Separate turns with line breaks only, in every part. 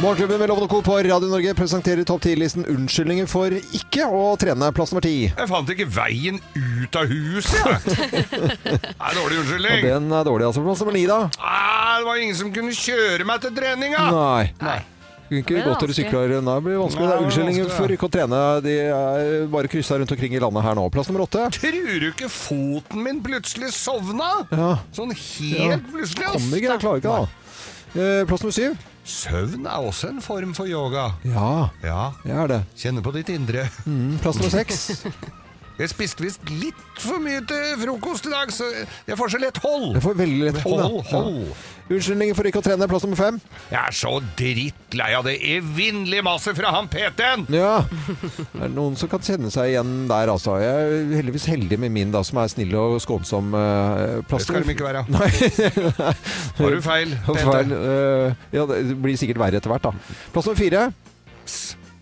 Morgenklubben med Loven og Co. på Radio Norge presenterer topp 10-listen unnskyldninger for ikke å trene. Plass nummer ti.
Jeg fant ikke veien ut av huset! Det er dårlig unnskyldning.
Den er dårlig, altså. Plass nummer ni, da.
Ah, det var ingen som kunne kjøre meg til treninga!
Nei. Kunne ikke
Det blir
gått eller
vanskelig.
sykla Nei, det blir
Nei, det
vanskelig. Det er
blir
unnskyldninger
vanskelig,
for
ja.
ikke å trene. De er bare kryssa rundt omkring i landet her nå. Plass nummer åtte.
Tror du ikke foten min plutselig sovna?
Ja.
Sånn
Ja.
helt plutselig.
Kommer
ass.
ikke, jeg klarer ikke, da. Eh, Plass nummer syv.
Søvn er også en form for yoga.
Ja,
Ja,
det er det.
kjenne på ditt indre.
Mm, Plass nummer seks.
Jeg spiste visst litt for mye til frokost i dag, så jeg får så lett hold.
Jeg får veldig lett hold.
Hold,
da.
hold.
Ja. Unnskyldninger for ikke å trene. Plass nummer fem.
Jeg er så drittlei av det evinnelige maset fra han PT-en!
Ja. Det er noen som kan kjenne seg igjen der, altså. Jeg er heldigvis heldig med min, da, som er snill og skånsom. eh,
Det
Plass
skal de
nummer
ikke være.
Nei.
Har du feil?
Feil.
PT?
eh, Ja, det blir sikkert verre etter hvert, da. Plass nummer fire.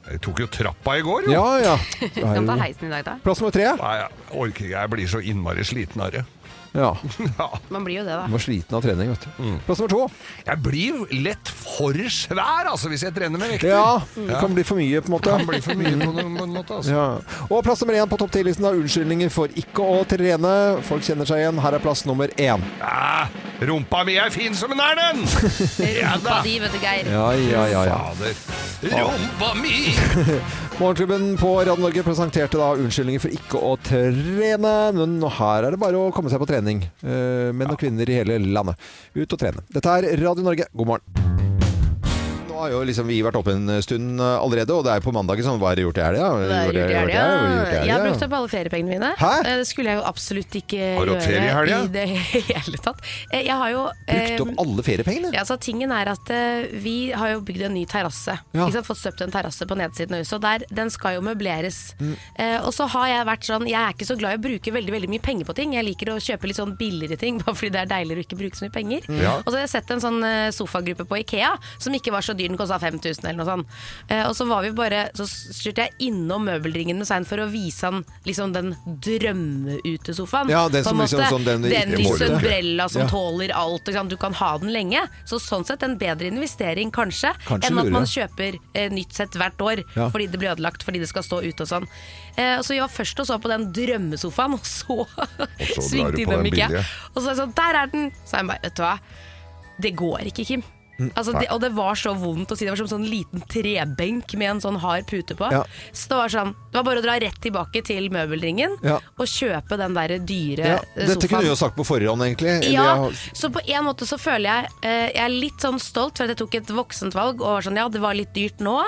Jeg tok jo trappa i går, jo.
Ja, ja.
Kan ta heisen i dag, da.
Plass nummer tre.
Nei, jeg orker ikke. Jeg blir så innmari sliten av det.
Ja.
Ja. Mm.
Man blir jo det,
Du
da.
var sliten av trening, vet du. Plass nummer to.
Jeg blir lett for svær, altså, hvis jeg trener med vekter.
Ja, det kan bli for mye, på en måte.
Det blir for mye på noen, på en måte, altså.
Ja. Og plass nummer én på topp 10-listen er unnskyldninger for ikke å trene. Folk kjenner seg igjen. Her er plass nummer én.
Ah, rumpa mi er fin som en ernen! Ja
Rumpa
da.
di, vet du, Geir.
Ja, ja, ja. ja.
Fader. Rumpa mi!
Morgenklubben på Radio Norge presenterte da unnskyldninger for ikke å trene. Men her er det bare å komme seg på trening. Eh, Menn og kvinner i hele landet. Ut og trene. Dette er Radio Norge. God morgen. Nå har jo liksom vi vært oppe en stund eh, allerede, og det er på mandagen sånn Hva har dere gjort i helga?
Det er
Hva har
gjort i
dere gjort i
helga.
helga? Hva har dere gjort i helga?
Jeg har brukt opp alle feriepengene mine.
Hæ?
Eh, Det skulle jeg jo absolutt ikke
Har du hatt ferie i
gjøre
helga?
i det hele tatt. Eh, Jeg har jo
Brukt
eh,
opp alle feriepengene?
Ja, så tingen er at eh, Vi har jo bygd en ny terrasse.
Ja.
Ikke sant? Fått støpt en terrasse på nedsiden av huset. Og der, den skal jo møbleres. Eh, og så har jeg vært sånn Jeg er ikke så glad i å bruke veldig veldig mye penger på ting. Jeg liker å kjøpe litt sånn billigere ting, bare fordi det er deiligere å ikke bruke så mye penger.
Mm.
Ja.
Og så har jeg sett en sånn eh, sofagruppe på Ikea som ikke var så dyr, den kosta 5000 eller noe sånt. Eh, og så var vi bare Så styrte jeg innom møbelringen med Svein for å vise han liksom den drømmeutesofaen.
Ja, den
på en
som liksom
måte.
sånn den du
den
ikke
lyse
målte.
Umbrella som
Ja.
tåler alt. Ikke sant? Du kan ha den lenge. Så sånn sett en bedre investering kanskje,
Kanskje
enn at
lurer
man kjøper eh, nytt sett hvert år
Ja.
fordi det blir ødelagt, fordi det skal stå ute og sånn. Eh, og så vi var først og så på den drømmesofaen, og så,
så drar du
svingte
på
innom
den
Ikea.
billige.
Og så er jeg sånn, der er den! Så er jeg bare, vet du hva, det går ikke, Kim.
Mm,
Altså, det, og det var så vondt å si. Det var som en sånn liten trebenk med en sånn hard pute på.
Ja.
Så det var sånn Det var bare å dra rett tilbake til møbelringen
Ja.
og kjøpe den der dyre
Ja,
eh,
dette
sofaen.
kunne du jo sagt på forhånd, egentlig. Eller jeg
Ja,
har-
så på en måte så føler jeg eh, Jeg er litt sånn stolt for at jeg tok et voksent valg Og var sånn, ja det var litt dyrt nå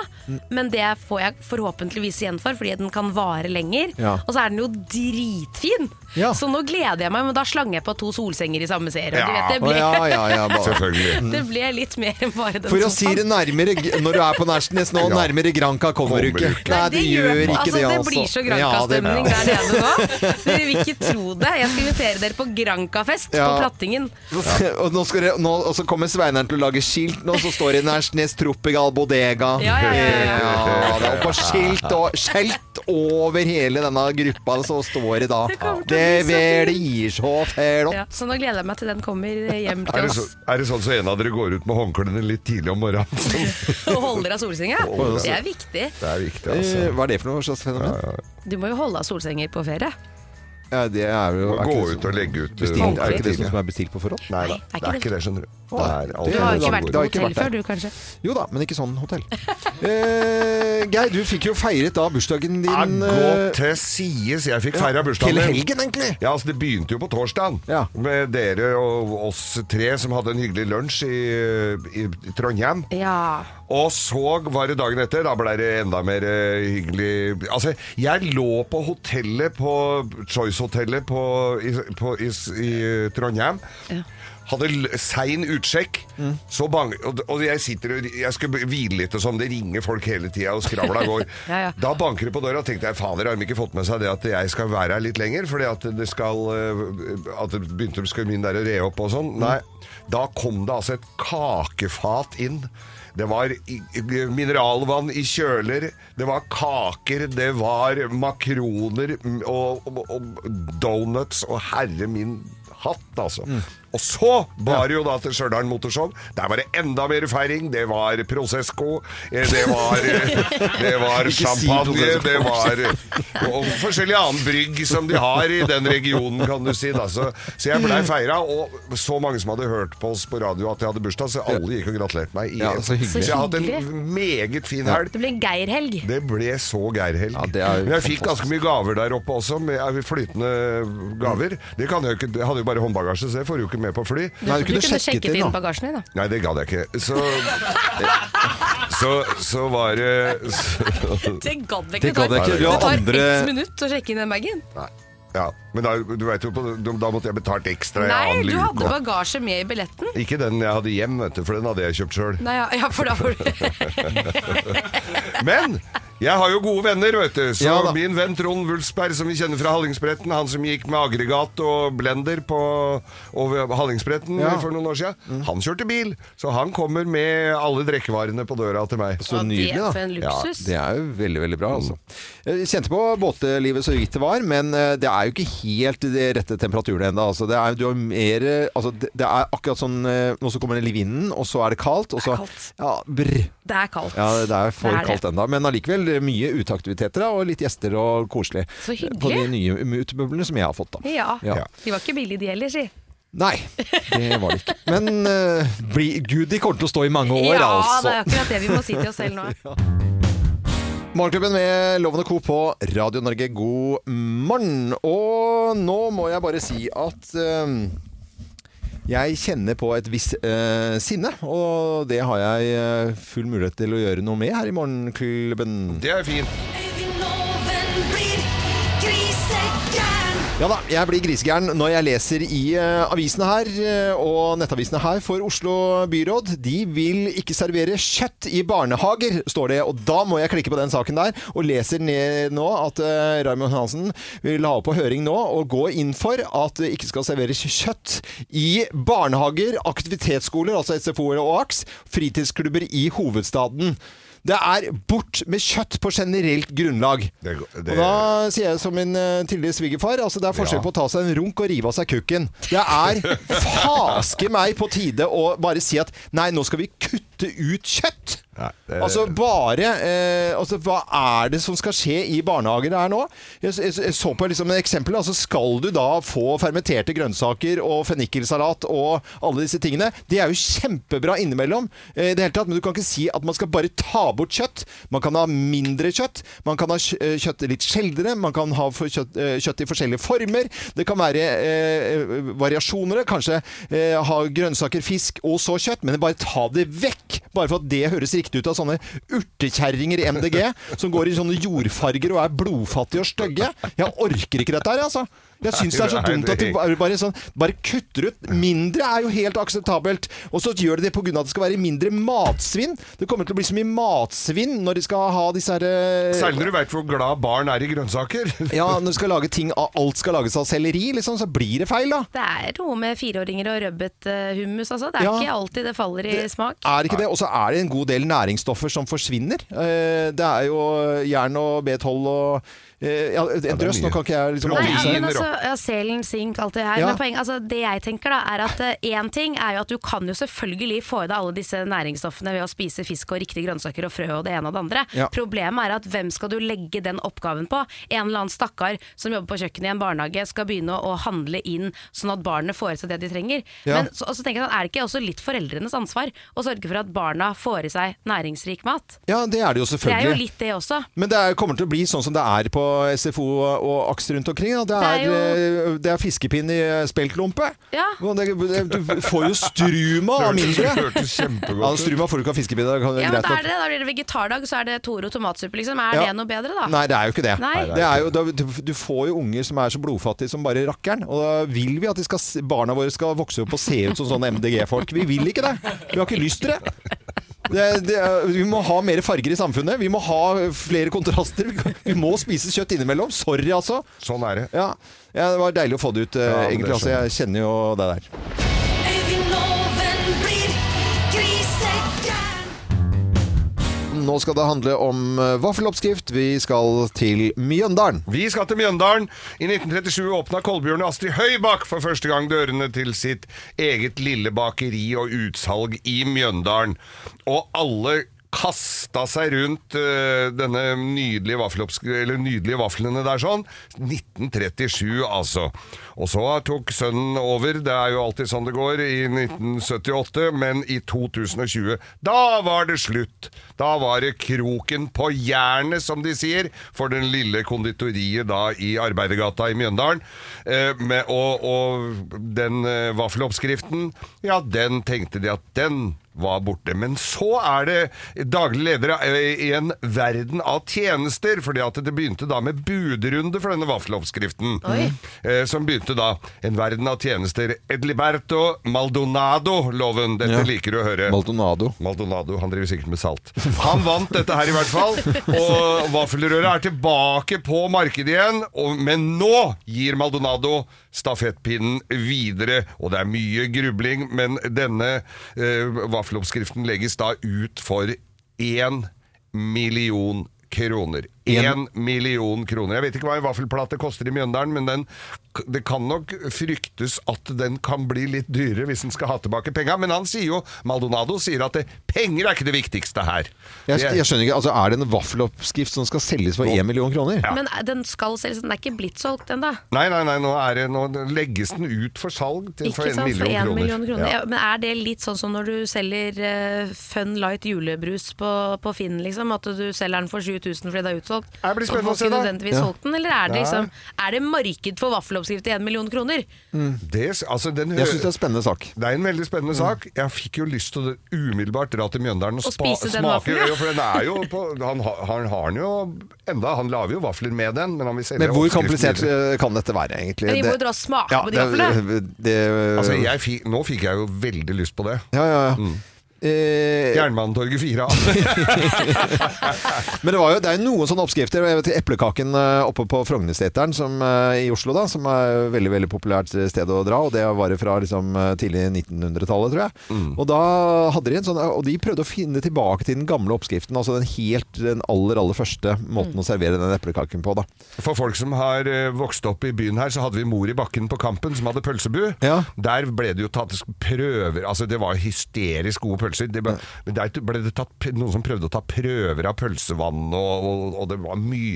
Men det får jeg forhåpentligvis igjen for Fordi den kan vare lenger
Ja.
Og så er den jo dritfin
Ja.
Så nå gleder jeg meg, men da slang jeg på to solsenger i samme serie
Ja.
Du vet, det
Å,
ble,
ja, ja, ja, bare. Mm.
Selvfølgelig.
det ble litt mer enn bare den
For å si
sofaen.
det nærmere g- Når du er på Nærsnes nå,
Ja.
nærmere Granca kommer du ikke.
Kommer du ikke.
Nei, det gjør ikke
altså,
det, altså.
Det blir så
Ja,
Granka-stemning
det-
der nede nå. Dere vil ikke tro det. Jeg skal invitere dere på Granka-fest på
Ja.
Plattingen.
Og, nå skal det, nå, og så kommer Sveineren til å lage skilt nå, så står det Nærsnes Tropical Bodega.
Ja, ja, ja, ja,
Ja, det er på skilt, og, skjelt over hele denne gruppa, så står det da
Det kommer til å
Det
bli så
blir så flott.
Ja, så nå gleder jeg meg til den kommer hjem
Er
til
det, så,
oss.
er det sånn så en av dere går ut med håndklærne litt tidlig om morgenen?
Og holder av solsenga.
Holder.
Det er viktig.
Det er viktig,
Eh,
altså.
Hva er det for noe slags fenomen?
Du må jo holde av solsenger på ferie.
Ja, det er jo er
Gå
ikke det
ut
som-
og legge ut
bestilt,
uh,
Er det ikke det
tidlig.
som er bestilt på forhånd?
Nei da,
Nei, det er
det er
ikke
ikke det, skjønner du. Det
Nei,
er
det
alltid
Du har jo
det
ikke
noe
har
vært
det
på
har ikke
hotell
vært der.
før, du kanskje.
Jo da, men ikke sånn hotell. Eh, Geir, du fikk jo feiret da bursdagen
Ja,
din
Gå
eh,
til sides! Jeg fikk
ja,
feira bursdagen
Hele
min.
helgen, egentlig.
Ja, altså Det begynte jo på torsdagen
Ja.
med dere og oss tre som hadde en hyggelig lunsj i, i Trondheim.
Ja.
Og så var det dagen etter, da ble det enda mer eh, hyggelig Altså, jeg lå på hotellet på Choice-hotellet på, i, på, i, i Trondheim.
Ja.
Hadde l- sein utsjekk.
Mm.
Så bang, og, og jeg sitter og Jeg skulle hvile litt og sånn. Det ringer folk hele tida, og skravla går.
Ja, ja.
Da banker det på døra, og tenkte jeg fader, har de ikke fått med seg det at jeg skal være her litt lenger? Fordi at det skal eh, At det begynte skulle min der å re opp og sånn. Nei. Da kom det altså et kakefat inn. Det var i- i- mineralvann i kjøler, det var kaker, det var makroner mm, og, og, og donuts og herre min hatt, altså. Og så var det jo da til Stjørdal Motorshow. Der var det enda mer feiring. Det var Prosecco, eh, det var, eh, det var
Ikke si
champagne,
Prosecco.
det var og forskjellig annen brygg som de har i den regionen, kan du si. Da. Så, så jeg blei feira, og så mange som hadde hørt på oss på radio at jeg hadde bursdag, så alle gikk og gratulerte meg. i-
Ja, så hyggelig.
Så jeg har hatt en meget fin helg.
Det blir en Geir-helg.
Det ble så Geir-helg.
Ja, det er jo
Men jeg fikk
fantastisk.
ganske mye gaver der oppe også, med eh, flytende gaver. Det kan jeg, jo ikke, jeg hadde jo bare håndbagasje, så jeg får jo ikke med på fly.
Nei,
Du kunne sjekket inn bagasjen din, da.
Nei, det gadd jeg ikke. Så, så, så var det så,
Det gadd
Det gadd jeg ikke. Vi har andre-
minutt å sjekke inn den bagen.
Nei. Ja, men da, du vet jo, på- da måtte jeg betalt ekstra. i
Nei,
annen
du
luke.
hadde bagasje med i billetten.
Ikke den jeg hadde hjem, vet du, for den hadde jeg kjøpt sjøl.
Nei, ja, ja, for da var du
Men jeg har jo gode venner, vet du. Så
Ja da.
min venn Trond Wulfsberg, som vi kjenner fra Hallingsbretten, han som gikk med aggregat og blender på, over Hallingsbretten
Ja. Mm.
for noen år siden, han kjørte bil. Så han kommer med alle drikkevarene på døra til meg.
Så nydelig,
det for
da.
en
Ja,
luksus.
Det er jo veldig, veldig bra, altså. Jeg kjente på båtlivet så vidt det var, men eh, det er jo ikke helt de rette temperaturene ennå. Altså. Det, er- du har mer, eh, altså, det, det er akkurat sånn eh, Nå så kommer det liv innen, og så er det kaldt, og så
Det er kaldt.
Ja, brr.
Det er kaldt.
Ja, det er for
Det er det.
kaldt ennå. Men allikevel eh, mye uteaktiviteter da, og litt gjester og koselig.
Så hyggelig.
På de nye utebublene som jeg har fått, da.
Ja.
Ja.
De var ikke billige, de heller, si.
Nei, det var det ikke. Men eh, bli, gud, de kommer til å stå i mange år,
Ja,
altså.
det er akkurat det vi må si til oss selv nå.
Morgenklubben med Loven og Co. på Radio Norge, god morgen. Og nå må jeg bare si at eh, jeg kjenner på et visst eh, sinne, og det har jeg eh, full mulighet til å gjøre noe med her i Morgenklubben.
Det er fint.
Øyvind Loven blir grisegæren.
Ja da, jeg blir grisegæren når jeg leser i eh, avisene her eh, og nettavisene her for Oslo byråd. De vil ikke servere kjøtt i barnehager, står det. Og da må jeg klikke på den saken der, og leser ned nå at eh, Raymond Hansen vil ha opp på høring nå og gå inn for at det ikke skal serveres kjøtt i barnehager, aktivitetsskoler, altså SFO-er og AKS, fritidsklubber i hovedstaden. Det er bort med kjøtt på generelt grunnlag.
Det går-
Og
det-
da sier jeg som min eh, tidligere svigerfar. Altså det er forskjell
Ja.
på å ta seg en runk og rive av seg kukken. Det er faske meg på tide å bare si at nei, nå skal vi kutte ut kjøtt.
Nei, det-
Altså bare eh, altså, Hva er det som skal skje i barnehager her nå? Jeg, jeg, jeg så på liksom et eksempel. Altså, skal du da få fermenterte grønnsaker og fennikelsalat og alle disse tingene? Det er jo kjempebra innimellom. Eh, i det hele tatt, men du kan ikke si at man skal bare ta bort kjøtt. Man kan ha mindre kjøtt. Man kan ha kj- eh, kjøtt litt sjeldnere. Man kan ha for kjøtt, eh, kjøtt i forskjellige former. Det kan være eh, variasjoner. Kanskje eh, ha grønnsaker, fisk og så kjøtt. Men bare ta det vekk! Bare for at det høres riktig ut av sånne urtekjerringer i MDG som går i sånne jordfarger og er blodfattige og stygge. Jeg orker ikke dette her, altså. Jeg syns det er så
Nei,
dumt at de
det-
bare, bare sånn, bare kutter ut. Mindre er jo helt akseptabelt. Og så gjør de det pga. at det skal være mindre matsvinn. Det kommer til å bli så mye matsvinn når de skal ha disse her eh,
Særlig når du veit hvor glad barn er i grønnsaker.
ja, når du skal lage ting av alt skal lages av selleri, liksom, så blir det feil, da.
Det er noe med fireåringer og rødbet eh, hummus, altså. Det er
Ja.
ikke alltid det faller i smak.
Er ikke det? Og så er det en god del næringsstoffer som forsvinner. Eh, Det er jo jern og B12 og eh, ja, En drøss, nå
mye.
kan ikke jeg liksom
Nei,
Proteiner.
overbevise.
men altså, ja, Selen, sink, alt det her.
Ja.
Men poenget, altså, det jeg tenker da, er at én ting er jo at du kan jo selvfølgelig få i deg alle disse næringsstoffene ved å spise fisk og riktige grønnsaker og frø og det ene og det andre.
Ja.
Problemet er at hvem skal du legge den oppgaven på? En eller annen stakkar som jobber på kjøkkenet i en barnehage skal begynne å handle inn sånn at barnet får i seg det de trenger.
Ja.
Men så, og så tenker jeg, sånn, er det ikke også litt foreldrenes ansvar å sørge for at barna får i seg næringsrik mat?
Ja, det er det jo
Det er jo
selvfølgelig.
litt det også.
Men det er, kommer til å bli sånn som det er på og SFO og AKS rundt omkring. Da. Det,
Det
er,
er
eh, det er fiskepinn i eh, speltlompe.
Ja.
Men Det, det, du får jo struma av mindre.
Hørtes
Ja,
kjempegodt ut.
struma får du ikke av fiskepinn. det kan-
Ja, men
greit
da
nok.
er det, da blir det vegetardag, så er det Toro tomatsuppe, liksom. Er
Ja.
det noe bedre, da?
Nei, det er jo ikke det.
Nei. Nei, det er
det er jo, da, du- du får jo unger som er så blodfattige som bare rakkeren. Og da vil vi at de skal, s- barna våre skal vokse opp og se ut som sånne MDG-folk. Vi vil ikke det. Vi har ikke lyst til det. Det, det, er- vi må ha mer farger i samfunnet. Vi må ha flere kontraster. Vi, kan- vi må spise kjøtt innimellom. Sorry, altså.
Sånn er det.
Ja, ja, det var deilig å få det ut, eh,
Ja, men det
egentlig. Altså,
skjønner
jeg kjenner jo det der.
Øyvind Loven blir grisekjern.
Nå skal det handle om eh, vaffeloppskrift. Vi skal til Mjøndalen.
Vi skal til Mjøndalen. I 1937 åpna Kolbjørn og Astrid Høybakk for første gang dørene til sitt eget lille bakeri og utsalg i Mjøndalen. Og alle kasta seg rundt øh, denne nydelige, vaffeloppsk- eller nydelige vaflene der sånn. 1937, altså. Og så tok sønnen over. Det er jo alltid sånn det går i 1978, men i 2020, da var det slutt. Da var det kroken på jernet, som de sier, for den lille konditoriet da i Arbeidergata i Mjøndalen. Eh, med, og, og den eh, vaffeloppskriften, ja, den tenkte de at den var borte. Men så er det daglig leder eh, i en verden av tjenester, fordi at det begynte da med budrunde for denne vaffeloppskriften.
Oi.
Eh, som begynte da en verden av tjenester. Edliberto Maldonado-loven. Dette
Ja.
liker du å høre.
Maldonado.
Maldonado, han driver sikkert med salt. Han vant dette her i hvert fall, og vaffelrøret er tilbake på markedet igjen. Og, men nå gir Maldonado stafettpinnen videre, og det er mye grubling, men denne eh, vaffeloppskriften legges da ut for én million kroner. Én million kroner. Jeg vet ikke hva en vaffelplate koster i Mjøndalen, men den, det kan nok fryktes at den kan bli litt dyrere hvis den skal ha tilbake penga. Men han sier jo, Maldonado sier at det, penger er ikke det viktigste her.
Jeg,
Det er-
jeg skjønner ikke, altså Er det en vaffeloppskrift som skal selges for én million kroner?
Ja.
Men eh, den skal selges, den er ikke blitt solgt ennå.
Nei, nei, nei, nå, er det, nå legges den ut for salg til, for én
Ikke sant, for
million,
én
kroner.
million kroner.
Ja.
Ja. Men er det litt sånn som når du selger eh, Fun Light julebrus på, på Finn, liksom? At du selger den for 7000 fordi det er utsolgt?
Ja, det blir
Og
spennende å
folk
se, da.
nødvendigvis
Ja.
solgt den, eller er det liksom Er det marked for vaffeloppskrift til én million kroner?
Det, altså, den,
Jeg syns det er en spennende sak. Mm.
Det er en veldig spennende sak. Jeg fikk jo lyst til å umiddelbart dra til Mjøndalen og,
Og
spa,
spise den
smake
vaffelen, ja.
ja, For den er jo på, han, ha- han har den jo enda. Han lager jo vafler med den, men han vil selge
Men hvor
oppskriften
komplisert
videre.
eh, kan dette være, egentlig?
Men vi må
Det-
jo dra og smake
Ja,
på Ah, de
det-
vaflene.
eh, det-
Altså, jeg fikk, nå fikk jeg jo veldig lyst på det. Mm.
Ja, ja, ja. Eh,
Jernbanetorget 4 A.
men det, var jo, det er jo noen sånne oppskrifter. og Jeg vet, eplekaken eh, oppe på Frognerseteren som, eh, i Oslo, da, som er et veldig veldig populært sted å dra. Og Det var det fra liksom, eh, tidlig 1900-tallet, tror jeg. Og da hadde de en sånn Og de prøvde å finne tilbake til den gamle oppskriften. Altså den helt den aller, aller første måten å servere den eplekaken på. da
For folk som har eh, vokst opp i byen her, så hadde vi Mor i bakken på Kampen, som hadde pølsebu.
Ja.
Der ble det jo tatt prøver Altså, det var hysterisk gode pølser. Det ble, men der ble det tatt, p- noen som prøvde å ta prøver av pølsevann, og, og, og det var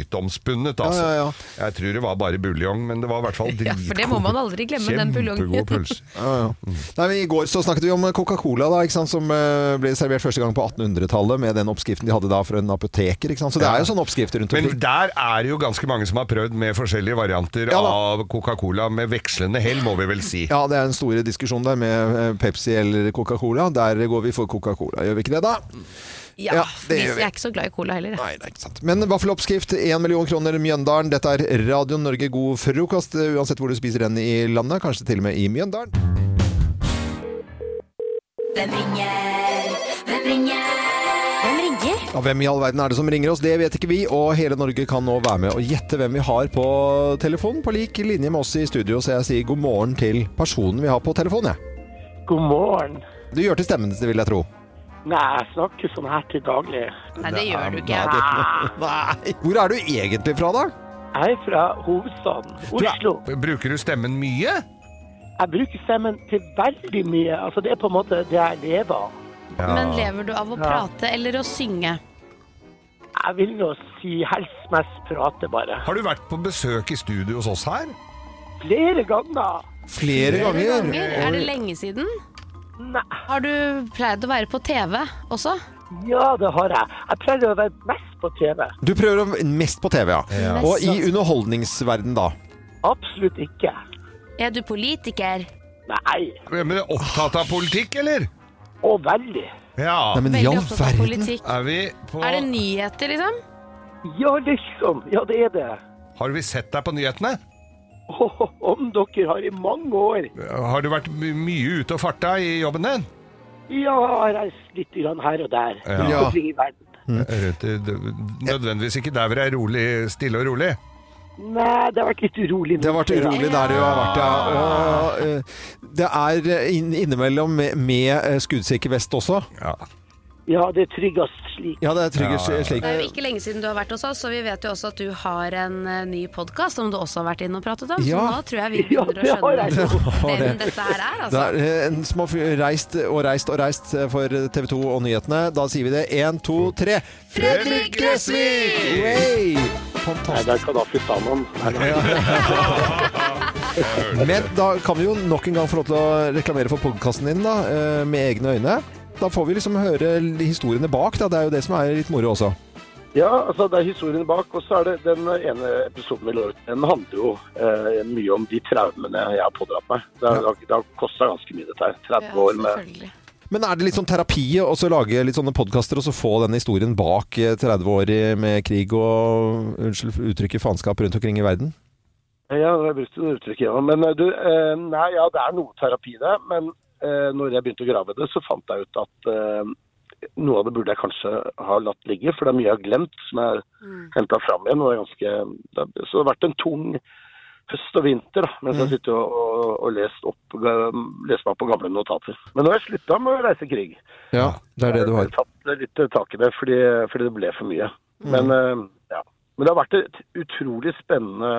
myteomspunnet, altså.
Ja, ja,
Jeg tror det var bare buljong, men det var i hvert fall
Ja,
dritgode
for det må man aldri glemme, den
Kjempegode
buljongen.
pølser.
Ja, ja. Nei, men I går så snakket vi om Coca-Cola, da, ikke sant, som eh, ble servert første gang på 1800-tallet med den oppskriften de hadde da fra en apoteker. Ikke sant? Så det er jo sånne oppskrifter rundt
Men
omkring.
der er det jo ganske mange som har prøvd med forskjellige varianter
Ja da.
av Coca-Cola med vekslende hell, må vi vel si.
Ja, det er en stor diskusjon der med eh, Pepsi eller Coca-Cola. Der går vi for Coca-Cola, gjør vi ikke det da?
Ja,
Ja, det
vi-
gjør vi.
jeg er ikke så glad i cola heller. jeg.
Nei, det er ikke sant. Men vaffeloppskrift, 1 million kroner Mjøndalen. Dette er Radio Norge god frokost, eh, uansett hvor du spiser den i landet. Kanskje til og med i Mjøndalen.
Hvem ringer? Hvem ringer? Hvem ringer?
Ja, hvem i all verden er det som ringer oss? Det vet ikke vi, og hele Norge kan nå være med og gjette hvem vi har på telefonen, på lik linje med oss i studio, så jeg sier god morgen til personen vi har på telefonen, jeg.
God morgen.
Du gjør til stemmen, vil jeg tro.
Nei, jeg snakker sånn her til daglig.
Nei, det gjør du ikke.
Nei. Hvor er du egentlig fra, da?
Jeg er fra hovedstaden, Oslo.
Bruker du stemmen mye?
Jeg bruker stemmen til veldig mye. Altså, det er på en måte det jeg lever av.
Men lever du av å prate eller å synge?
Jeg vil nå si helst mest prate, bare.
Har du vært på besøk i studio hos oss her?
Flere ganger.
Flere ganger.
Ganger? Er det lenge siden?
Nei,
Har du pleid å være på TV også?
Ja, det har jeg. Jeg prøver å være mest på TV.
Du prøver å mest på TV, ja.
Ja.
Og i underholdningsverden da.
Absolutt ikke.
Er du politiker?
Nei.
Men er opptatt av politikk, eller?
Å, veldig.
Ja.
Nei, men i
Veldig
all
opptatt av
verden.
politikk.
Er vi på
Er det nyheter, liksom?
Ja, liksom. Ja, det er det.
Har vi sett deg på nyhetene?
Åh, om dere har i mange år.
Har du vært my- mye ute og farta i jobben din?
Ja, jeg har reist litt grann her og der.
Ja.
Rundt omkring i verden.
Mm.
Eh, Rundt i- Nødvendigvis ikke der hvor det er rolig, stille og rolig.
Nei, det har vært litt urolig. nå.
Det har vært urolig der du har vært, ja. Og, eh, det er eh, inn, innimellom med, med eh, skuddsikker vest også.
Ja.
Ja, det er tryggest slik.
Ja, det er tryggest slik.
Det er jo ikke lenge siden du har vært hos oss, og vi vet jo også at du har en eh, ny podkast som du også har vært inne og pratet om,
Ja.
så nå tror jeg vi
Ja,
begynner å
det har
skjønne
jeg.
hvem dette her er,
Det
altså.
er eh, en som har f- reist og reist og reist eh, for TV 2 og nyhetene. Da sier vi det. Én, to, tre. Fredrik Gressvik! Way!
Nei,
Fantastisk.
der kan jeg flytte an om. Nei, nei.
Men da kan vi jo nok en gang få lov til å reklamere for podkasten din da, eh, med egne øyne. Da får vi liksom høre historiene bak. Da. Det er jo det som er litt moro også.
Ja, altså det er historien bak, og så er det den ene episoden vi la ut. Den handler jo eh, mye om de traumene jeg har pådratt meg. Det, har- det har kosta ganske mye, dette her. 30 år med
selvfølgelig.
Men er det litt sånn terapi å også lage litt sånne podkaster og så få denne historien bak eh, 30 år i- med krig og unnskyld for uttrykket faenskap rundt omkring i verden?
Ja, jeg brukte det uttrykket, ja. Men eh, du, eh, nei, ja, det er noe terapi i det. Men eh, når jeg begynte å grave i det, så fant jeg ut at eh, noe av det burde jeg kanskje ha latt ligge, for det er mye jeg har glemt som jeg mm. henta fram igjen. Og det er ganske, det, er- så det har vært en tung høst og vinter da, mens jeg sitter og, og, og lest, opp, eh, lest meg opp på gamle notater. Men nå har jeg slutta med å reise krig.
Ja, det er det du har.
Jeg tatt litt tak i det fordi, fordi det ble for mye.
Mm.
Men, eh, ja. Men det har vært et utrolig spennende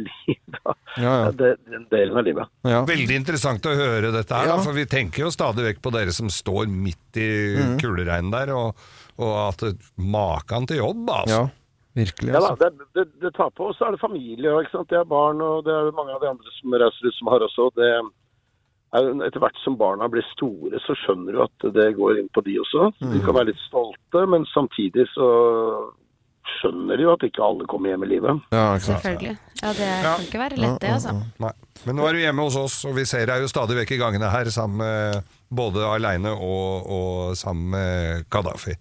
liv. Da.
Ja, ja.
Det, den delen av livet.
Ja.
Veldig interessant å høre dette her,
Ja.
da, for vi tenker jo stadig vekk på dere som står midt i
Mm.
kuleregnen der, og, og at makan til jobb, altså.
Ja, virkelig.
Ja, da,
Altså.
det, det, det tar på. Og så er det familie, og ikke sant? det er barn og det er mange av de andre som reiser ut som har også. Det er, jo- etter hvert som barna blir store, så skjønner du at det går inn på de også. De
Mm.
kan være litt stolte, men samtidig så skjønner de jo at ikke alle kommer hjem i livet.
Ja, ikke sant.
Selvfølgelig. Ja, det kan ikke være lett, det, altså.
Nei. Men nå er du hjemme hos oss, og vi ser deg jo stadig vekk i gangene her, sammen med, både aleine og, og sammen med Kadafi.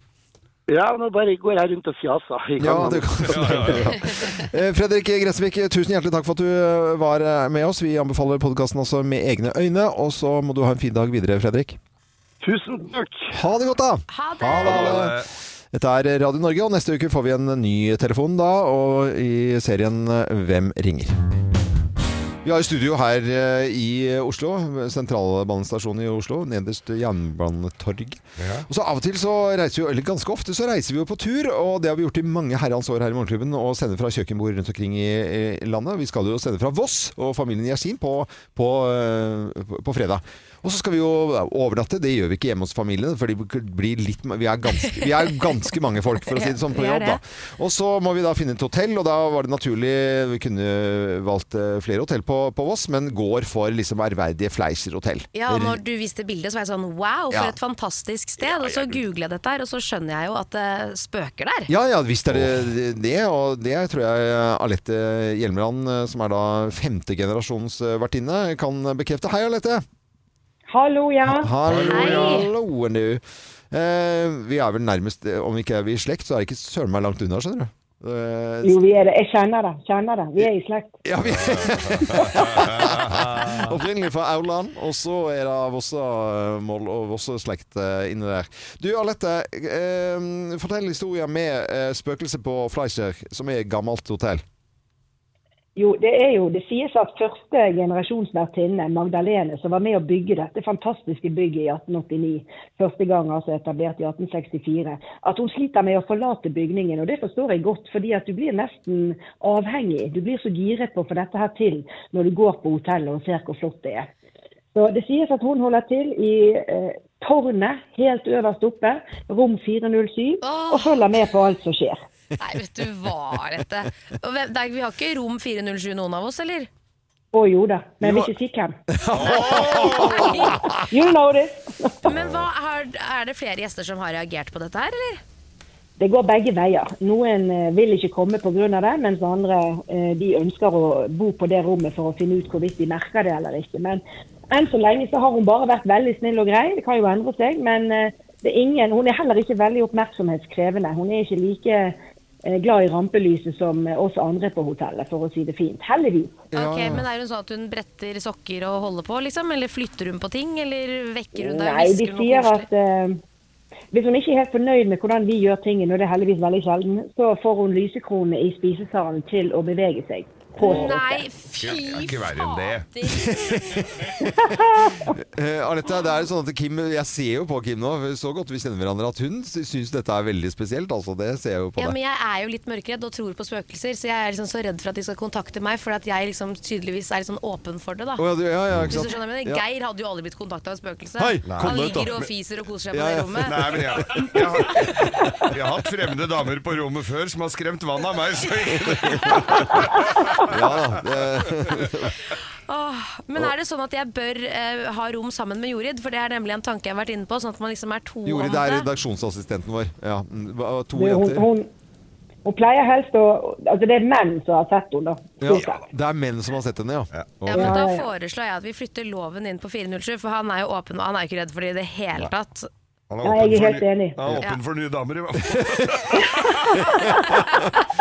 Ja, nå bare går jeg rundt og fjaser. i
Ja,
gangen.
det kan Eh, Fredrik Gressvik, tusen hjertelig takk for at du eh, var eh, med oss. Vi anbefaler podkasten også med egne øyne. Og så må du ha en fin dag videre, Fredrik.
Tusen takk!
Ha det godt, da!
Ha det!
Ha det. Dette er Radio Norge, og neste uke får vi en ny telefon da, og i serien eh, Hvem ringer? Vi har jo studio her eh, i Oslo, sentralbanestasjonen i Oslo, nederst Jernbanetorget. Og så av og til så reiser vi, eller ganske ofte så reiser vi jo på tur, og det har vi gjort i mange herrens år her i Morgenklubben, og sender fra kjøkkenbord rundt omkring i, i landet. Vi skal jo sende fra Voss og familien Yasin på, på, eh, på- på fredag. Og så skal vi jo overnatte, det gjør vi ikke hjemme hos familien, for de blir litt, vi, er ganske, vi er ganske mange folk, for å si det sånn, på
Vi er
jobb da.
det.
Og så må vi da finne et hotell, og da var det naturlig, vi kunne valgt eh, flere hotell på, på Voss, men går for liksom ærverdige Fleischer-hotell.
Ja, og når du viste bildet, så var jeg sånn wow, for
Ja.
et fantastisk sted. Og så googlet jeg dette her, og så skjønner jeg jo at det spøker der.
Ja, ja, visst er det det, og det tror jeg Alette Hjelmeland, eh, som er da femtegenerasjons vertinne, kan bekrefte. Hei, Alette!
Hallo, ja.
Hallo,
Hei.
hallo, du. Eh, vi er vel nærmest, eh, om vi ikke er vi i slekt, så er det ikke søren meg langt unna, skjønner du. Eh,
Jo, vi er det. Jeg kjenner det. Kjenner det. Vi er i slekt.
ja, vi... Opprinnelig fra Aurland, og så er det Vossamål og Vosseslekt eh, inni der. Du, Alette, eh, fortell historien med eh, spøkelset på Fleischer, som er et gammelt hotell.
Jo, det er jo, det sies at første generasjonsvertinne, Magdalene, som var med å bygge dette fantastiske bygget i 1889, første gang altså etablert i 1864, at hun sliter med å forlate bygningen. Og det forstår jeg godt, fordi at du blir nesten avhengig. Du blir så giret på å få dette her til når du går på hotellet og ser hvor flott det er. Så det sies at hun holder til i eh, tårnet helt øverst oppe, rom 407, og følger med på alt som skjer.
Nei, vet du hva, dette. Og hvem- det er- Vi har ikke rom 407 noen av oss, eller?
Å jo da, men jeg
Jo.
vil ikke si hvem. You know this.
Men hva har, er det flere gjester som har reagert på dette her, eller?
Det går begge veier. Noen eh, vil ikke komme pga. det, mens andre eh, de ønsker å bo på det rommet for å finne ut hvorvidt de merker det eller ikke. Men enn så lenge så har hun bare vært veldig snill og grei. Det kan jo endre seg. Men eh, det er ingen, hun er heller ikke veldig oppmerksomhetskrevende. Hun er ikke like eh, glad i rampelyset som eh, oss andre på hotellet, for å si det fint. Heldigvis.
Ok, Men er hun sånn at hun bretter sokker og holder på, liksom? Eller flytter hun på ting? Eller vekker hun deg?
Nei, de
hvisker hun noe
sier
koselig?
at eh, hvis hun ikke er helt fornøyd med hvordan vi gjør tingene, og det er heldigvis veldig sjelden, så får hun lysekronene i spisesalen til å bevege seg. påstås det.
Nei,
Ja, det er
fy
ikke verre enn det.
fader!
Eh, Anette, det er jo sånn at Kim, jeg ser jo på Kim nå, så godt vi kjenner hverandre, at hun sy- syns dette er veldig spesielt. Altså, det ser jeg jo på
Ja,
deg.
men jeg er jo litt mørkredd og tror på spøkelser, så jeg er liksom så redd for at de skal kontakte meg, for at jeg liksom tydeligvis er litt sånn åpen for det, da.
Å, ja, du- ja, ja, ikke
Hvis du
sant?
skjønner hva jeg mener.
Ja.
Geir hadde jo aldri blitt kontakta av et spøkelse.
Hei, kom
Han
deg ut, da.
ligger og fiser og koser seg på
Ja, ja.
det rommet.
Nei, men jeg, jeg, har, jeg har hatt fremmede damer på rommet før som har skremt vann av meg. Så ikke,
Ja, da, det,
Men er det sånn at jeg bør eh, ha rom sammen med Jorid? For det er nemlig en tanke jeg har vært inne på. Sånn at man liksom er to
Jorid
om
er
det.
redaksjonsassistenten vår. Ja, mm, hva- to
Men Hun,
jenter.
hun, hun pleier helst å Altså, det er menn som har sett henne, da.
Ja,
stort sett.
det er menn som har sett henne, ja.
Ja, men Da
Ja, ja, ja.
foreslår jeg at vi flytter loven inn på 407, for han er jo åpen, og han er jo ikke redd for det i det hele tatt.
han
Ja, jeg er
åpen for
helt
ny-
enig.
Han er åpen for nye damer, i hvert fall.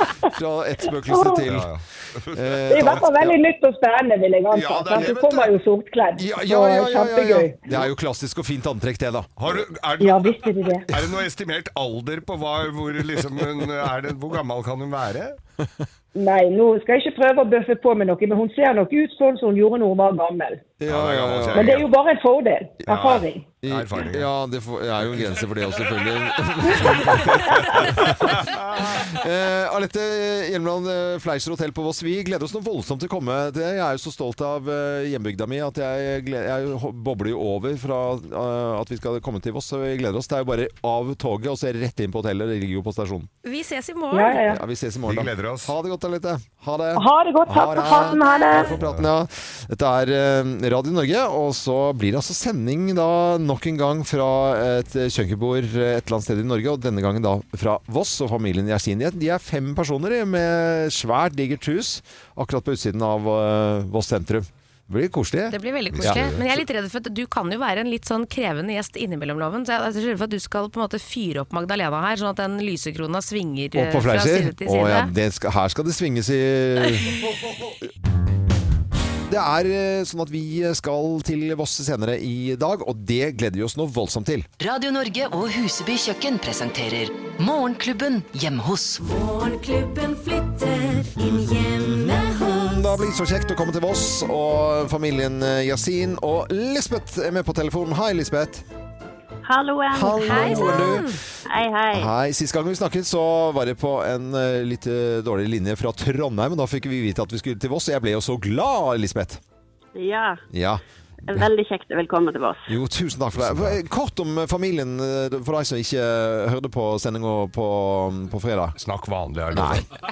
Fra ett spøkelse til
Ja, ja.
Det
eh,
er i
ta-
hvert fall veldig nytt og spennende, vil jeg anta.
Ja, det er
sant?
det,
Hun
vet
kommer
du.
jo sortkledd.
ja, ja,
så
ja, ja, ja, ja.
Kjempegøy.
Det er jo klassisk og fint antrekk, det, da.
Har du, er, det,
Ja
noe-
visst er det det.
er det noe estimert alder på hva, hvor, liksom, hun er det, hvor gammel kan hun være?
Nei, nå skal jeg ikke prøve å bøffe på med noe, men hun ser nok ut sånn som hun gjorde når hun var gammel.
Ja,
det er
ja,
gammel
ja.
kjerring.
Men det er jo bare en fordel. Erfaring.
I,
Erfaring, ja.
ja, det får, er jo en grense for det også, selvfølgelig. eh, Alette Hjelmeland eh, Fleischer Hotel på Voss, vi gleder oss noe voldsomt til å komme. Det, jeg er jo så stolt av eh, hjembygda mi at jeg, gled- jeg ho- bobler jo over fra eh, at vi skal komme til Voss. Så vi gleder oss. Det er jo bare av toget og så rett inn på hotellet. Det ligger jo på stasjonen.
Vi ses i
Ja, ja,
morgen.
ja.
Ja, vi ses i morgen, da.
Vi gleder oss.
Ha det godt, Alette. Eh, Ha det.
Ha det godt. Takk for praten. Ha det.
Takk for praten, ja. Dette er eh, Radio Norge, og så blir det altså sending da nok en gang fra et kjøkkenbord eh, et eller annet sted i Norge, og denne gangen da fra Voss og familien Gjersini. De er fem personer eh, med svært digert hus akkurat på utsiden av eh, Voss sentrum. Det blir koselig.
Det blir veldig
Ja.
koselig. Men jeg er litt redd for at du kan jo være en litt sånn krevende gjest innimellom loven. Så jeg er så redd for at du skal på en måte fyre opp Magdalena her, sånn at den lysekrona svinger
Og
eh,
på
fra
Fleischer.
side til
Å
side.
ja, det skal, her skal det svinges i Det er eh, sånn at vi skal til Voss senere i dag, og det gleder vi oss nå voldsomt til.
Radio Norge og Huseby kjøkken presenterer Morgenklubben hjemme hos.
Morgenklubben flytter inn hjemme hos
Da blir det så kjekt å komme til Voss, og familien eh, Yasin og Lisbeth er med på telefonen. Hei, Lisbeth.
Halloen.
Hei sann.
Hei, hei.
Hei. Sist gang vi snakket, så var det på en eh, litt eh, dårlig linje fra Trondheim, og da fikk vi vite at vi skulle til Voss, og jeg ble jo så glad, Lisbeth.
Ja,
Ja.
veldig kjekt. Velkommen til oss.
Jo, tusen takk for det. Eh, Kort om eh, familien, eh, for deg som ikke eh, hørte på sendinga på, mm, på fredag.
Snakk vanlig, er det noe?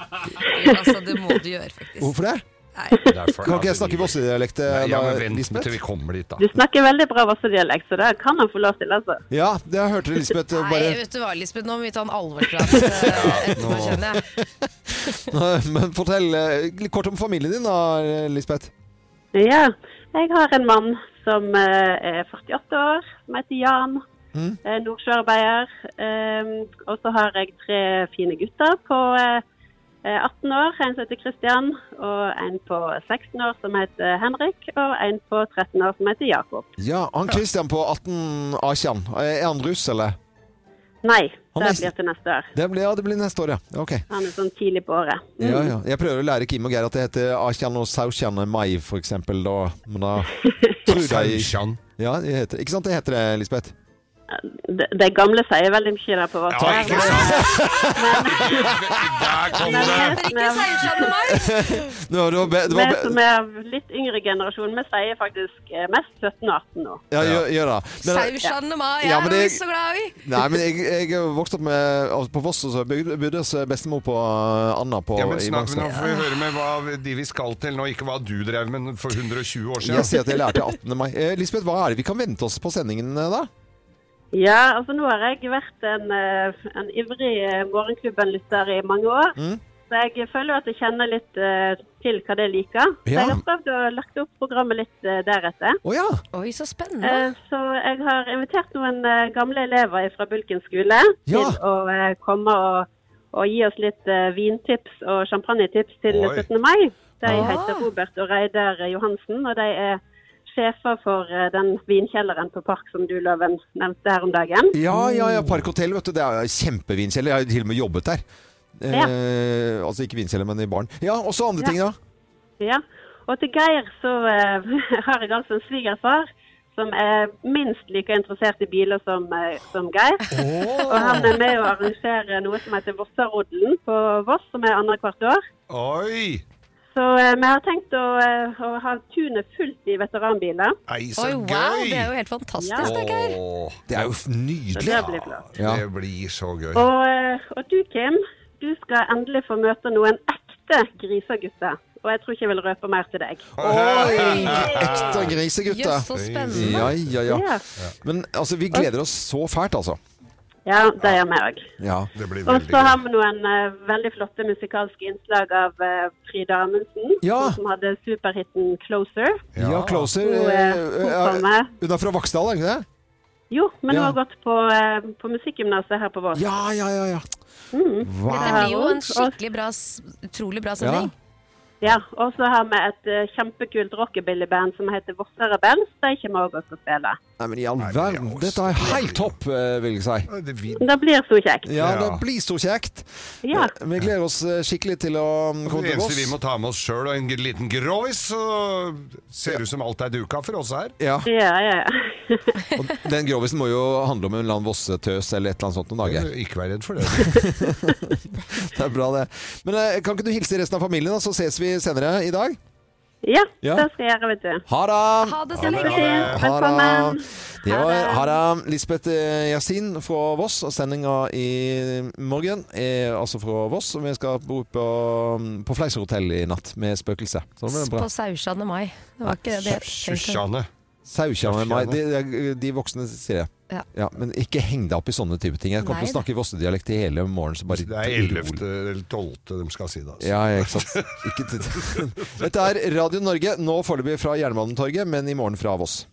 Altså, det må du gjøre, faktisk.
Hvorfor det?
Derfor,
Kan ikke jeg
altså,
snakke
vi-
Voss-dialekt, eh,
Nei, Ja, men
da,
vent til vi
Lisbeth?
kommer dit, da.
Du snakker veldig bra Vossedialekt, så det kan han få lov til, altså.
Ja, det hørte du, Lisbeth. eh,
Nei,
Bare
vet du hva, Lisbeth, nå må vi ta en alvorsprat eh, etterpå, kjenner jeg.
Men fortell eh, litt kort om familien din da, Lisbeth.
Ja, jeg har en mann som eh, er 48 år, som heter Jan. Mm. Nordsjøarbeider. Eh, og så har jeg tre fine gutter på eh, eh, 18 år. En som heter Christian, og en på 16 år som heter Henrik, og en på 13 år som heter Jakob.
Ja, han Christian på 18 Akjan. Er han russ, eller?
Nei,
Han
det
er-
blir til neste år.
Det blir, ja, det blir neste år, ja. Ok.
Han er sånn tidlig på året. Mm.
Ja, ja. Jeg prøver å lære Kim og Geir at det heter Akjan og Saukjan Mai, for eksempel. Da. Men da tror jeg
Sausjan.
ja, det heter, Ikke sant det heter det, Lisbeth?
De, de gamle sier veldig mye der på
Ja,
Vassøy.
ikke sant? Der kom det!
Det var, det var, be- det
Vi
var, be-
som er litt yngre generasjon, vi sier faktisk eh, mest 17-18 nå.
ja, gjør, gjør det. Men,
Sausan og meg,
Ja,
jeg
men
er
det-
så glad i!
nei, men jeg, jeg vokste opp med, altså, på Voss, og så bygde- bodde hos eh, bestemor på eh, Anna på,
Ja, men
i
snakk,
Mangstad.
Nå får vi høre med hva de vi skal til nå, ikke hva du drev med for 120 år
Jeg
siden.
sier at jeg lærte 18. mai. Eh, Lisbeth, hva er det vi kan vente oss på sendingen eh, da?
Ja, altså nå har jeg vært en, eh, en ivrig eh, Morgenklubben-lytter i mange år.
Mm.
Så jeg føler jo at jeg kjenner litt eh, til hva det liker. Så
Ja.
jeg har prøvd å lagt opp programmet litt eh, deretter.
Å ja!
Oi, så spennende.
Eh, Så jeg har invitert noen eh, gamle elever fra Bulken skole
Ja.
til å eh, komme og, og gi oss litt eh, vintips og champagnetips til
Oi.
17. mai. De
Ah.
heter Robert og Reidar Johansen, og de er sjefer for eh, den vinkjelleren på Park som du, Løven, nevnte her om dagen.
Ja, ja, ja Parkhotell, vet du. Det er jo kjempevinkjeller. Jeg har jo til og med jobbet der.
Ja.
Eh, altså ikke vinkjeller, men i baren. Ja, og så andre ting, da.
Ja. Og til Geir så eh, har jeg altså en svigerfar som er minst like interessert i biler som, eh, som Geir. Og han er med å arrangere noe som heter Vossarodden på Voss, som er annethvert år.
Oi!
Så eh, vi har tenkt å, eh, å ha tunet fullt i veteranbiler.
Nei, så
Oi, wow, det er
gøy!
jo helt fantastisk.
Ja.
det, Geir.
Åh,
Det er jo f-
Så
nydelig.
det blir flott.
Ja.
det blir så gøy.
Og, eh, og du, Kim, du skal endelig få møte noen ekte grisegutter. Og jeg tror ikke jeg vil røpe mer til deg.
Oi! Ekte
Jøss,
grisegutt,
så
da.
spennende.
Ja, ja, ja.
Ja,
Men altså, vi gleder oss så fælt, altså.
ja det gjør vi òg.
Ja.
Det blir
Og
veldig
så har
gøy.
vi noen eh, veldig flotte musikalske innslag av eh, Frida Amundsen,
Ja.
som hadde superhiten 'Closer'.
Ja, Closer
Hun, eh,
eh,
hun
eh,
kommer.
Hun er fra Vaksdal, er hun ikke det?
Jo, men hun
Ja.
har gått på, eh, på musikkgymnaset her på Voss.
Ja, ja, ja. ja.
Det
Mm.
Wow.
blir jo en skikkelig bra, s- utrolig bra
Ja.
sending.
Ja, og så har vi et eh, kjempekult rockebillyband som heter Vossere Band. De kommer også til å spille.
Nei, men i all
Nei, men det er
verden.
også-
Dette er helt topp, eh, vil jeg si.
Det vi-
Det blir så kjekt.
Ja, det
Ja.
blir så kjekt.
Ja.
Eh, Vi gleder oss eh, skikkelig til å mm, komme
Det
til
eneste vi må
Voss.
ta med oss sjøl, og en liten grois, så ser det ut som alt er duka for oss her.
Ja,
Ja, ja, ja.
og den grovisen må jo handle om en eller annen vossetøs eller et eller annet sånt noen dager.
Ikke vær redd for det.
Det er bra, det. Men eh, kan ikke du hilse resten av familien, da, så ses vi senere i dag?
ja,
Ja.
det skal jeg gjøre, vet du.
Ha det!
Ha det så lenge.
Fint.
Ha det!
Velkommen.
Det var ha det. Lisbeth eh, Yasin fra Voss, og sendinga i morgen er altså fra Voss. Og vi skal bo på, mm, på Fleischerhotell i natt med spøkelse. Så det blir bra.
På Sausjan og meg. Det var ikke det det het. tenkte jeg.
Susanne.
Saukja med meg. De, de, de voksne sier det. Ja.
Ja.
Men ikke heng deg opp i sånne type ting. Jeg kommer til å
Nei da.
snakke vossedialekt i hele morgen. Så bare
Det er 11. eller 12. de skal si det. Altså.
Ja, ja, ikke sant. Ikke til- Dette er Radio Norge, nå foreløpig fra Jernbanetorget, men i morgen fra Voss.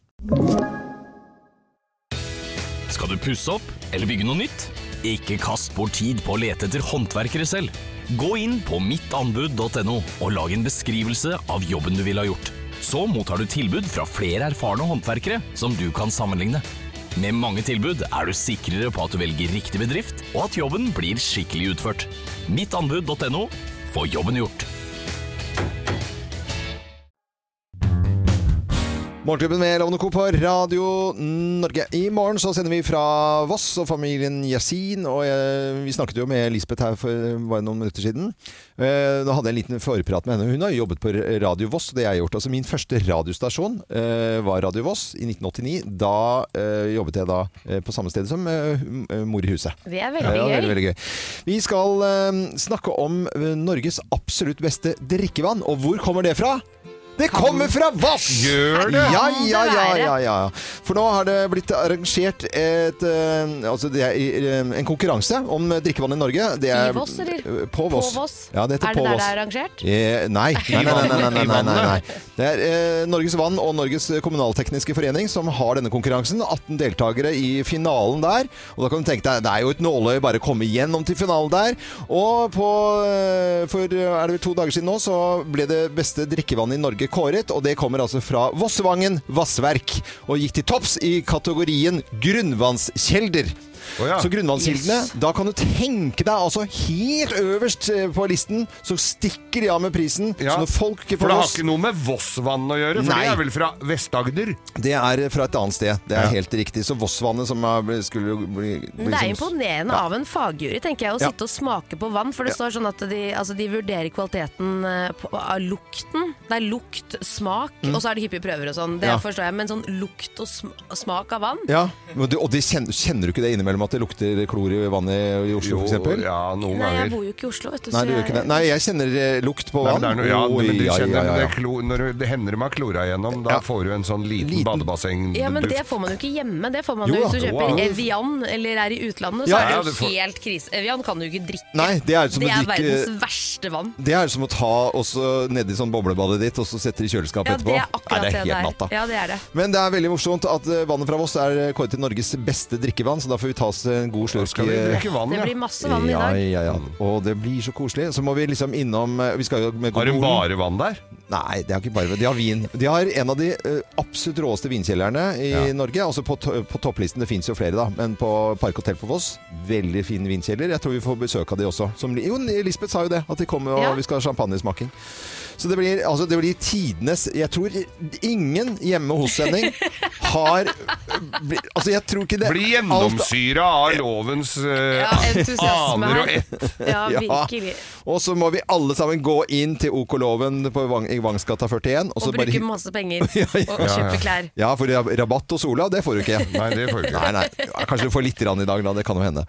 Skal du pusse opp eller bygge noe nytt? Ikke kast bort tid på å lete etter håndverkere selv. Gå inn på mittanbud.no og lag en beskrivelse av jobben du ville ha gjort. Så mottar du tilbud fra flere erfarne håndverkere som du kan sammenligne. Med mange tilbud er du sikrere på at du velger riktig bedrift, og at jobben blir skikkelig utført. Mittanbud.no få jobben gjort.
Morgenklubben med Lovende Co. på Radio Norge. I morgen så sender vi fra Voss og familien Yasin. Og eh, vi snakket jo med Lisbeth her for eh, bare noen minutter siden. Eh, Da hadde jeg en liten forprat med henne. Hun har jo jobbet på Radio Voss, og det jeg har gjort. Altså min første radiostasjon eh, var Radio Voss i 1989. Da eh, jobbet jeg da eh, på samme sted som eh, Mor i huset.
Det er
Ja,
veldig
det er
gøy.
veldig, veldig gøy. Vi skal eh, snakke om eh, Norges absolutt beste drikkevann. Og hvor kommer det fra? Det kommer fra Voss!
Gjør det?
Ja,
Kan det
ja, ja,
være?
ja, ja. For nå har det blitt arrangert et, eh, altså det er, eh, en konkurranse om drikkevann i Norge. Det er,
I Voss, eller?
eh, På Voss.
På Voss?
Ja, det heter
Er det
På
der
Voss.
det er arrangert?
Eh, nei, nei, nei, nei, nei,
I
nei, nei, nei,
vannet.
nei. Det er eh, Norges Vann og Norges Kommunaltekniske Forening som har denne konkurransen. 18 deltakere i finalen der. Og da kan du tenke deg, det er jo et nåløye bare å komme gjennom til finalen der. Og på, eh, for eh, er det vel to dager siden nå, så ble det beste drikkevannet i Norge kåret. Og det kommer altså fra Vossevangen vassverk. Og gikk til topps i kategorien grunnvannskjelder. Så grunnvannskildene, da kan du tenke deg altså helt øverst eh, på listen, så stikker de av med prisen. Så når folk ikke
For
får
det har
oss-
ikke noe med Vossvann å gjøre, for
Nei.
det er vel fra Vest-Agder?
Det er fra et annet sted. Det er
Ja.
helt riktig. Så Vossvannet som er, ble- skulle jo bli, bli
Men det er
som-
imponerende
Liksom Ja.
av en fagjury, tenker jeg, å
Ja.
sitte og smake på vann. For det står sånn at de, altså, de vurderer kvaliteten eh, på, av lukten. Det er lukt, smak,
Mm.
og så er det hyppige prøver og sånn. Det
Ja.
forstår jeg, men sånn lukt og sm smak av vann
Ja, men du, og de kjenner, kjenner du ikke det innimellom at det lukter klor i vannet i
Jo,
Oslo, f.eks.?
ja, noen
Nei, jeg bor jo ikke i Oslo, vet du.
Nei, du gjør ikke det. Nei, jeg kjenner eh, lukt på
Nei,
vann.
men det er noe, ja,
Oi,
men du
ja,
kjenner,
ja, ja,
Det
ja.
klo, når du- det hender de har klora igjennom, da får du en sånn liten, badebasseng
Ja, men det får man jo ikke hjemme. Det får man
Jo
jo
da.
hvis du
Jo
kjøper
da.
Evian eller er i utlandet, så
Ja, ja,
er
du
det
får-
jo helt krise. Evian kan du jo ikke drikke.
Nei, det er jo som
det
å
er
drikke-
verdens verste vann.
Det er som å ta også nedi sånn boblebadet ditt, og så sette det i kjøleskapet
Ja,
etterpå.
det er
Nei,
akkurat
det er
det
helt natta.
der. Ja, det er det.
Men det er veldig morsomt at eh, vannet fra Voss er eh, kåret til Norges beste drikkevann, så da får vi ta oss en god slurk.
skal vi
i-
drikke vann, Det ja. blir masse vann i
ja,
dag.
Ja, ja, Og det blir så koselig. Så må vi liksom innom eh, vi skal jo med
Har de
Godbolen.
bare vann der?
Nei, det har ikke bare vann. De har vin. De har en av de eh, absolutt råeste vinkjellerne i
Ja.
Norge. Altså på, to på topplisten. Det fins jo flere, da. Men på Park Hotel på Voss, veldig fin vinkjeller. Jeg tror vi får besøk av de også. Som, li- jo, Lisbeth sa jo det. At de kommer og
Ja.
vi skal ha champagnesmaking. Så det blir, altså, det blir tidenes Jeg tror ingen hjemme hos Henning har bli, Altså, jeg tror ikke det
Bli
alt-
gjennomsyra av lovens eh,
entusiasme
aner og
her.
ett.
Ja, virkelig. Og så må vi alle sammen gå inn til OK-loven på Vang, i Vangsgata 41.
Og
bare
bruke
hy-
masse penger
Ja, ja.
og kjøpe klær.
Ja, for rab- rabatt hos Ola, det får du ikke.
Nei, det får du ikke.
Nei, nei. Ja, Kanskje du får litt grann i dag, da. Det kan jo hende.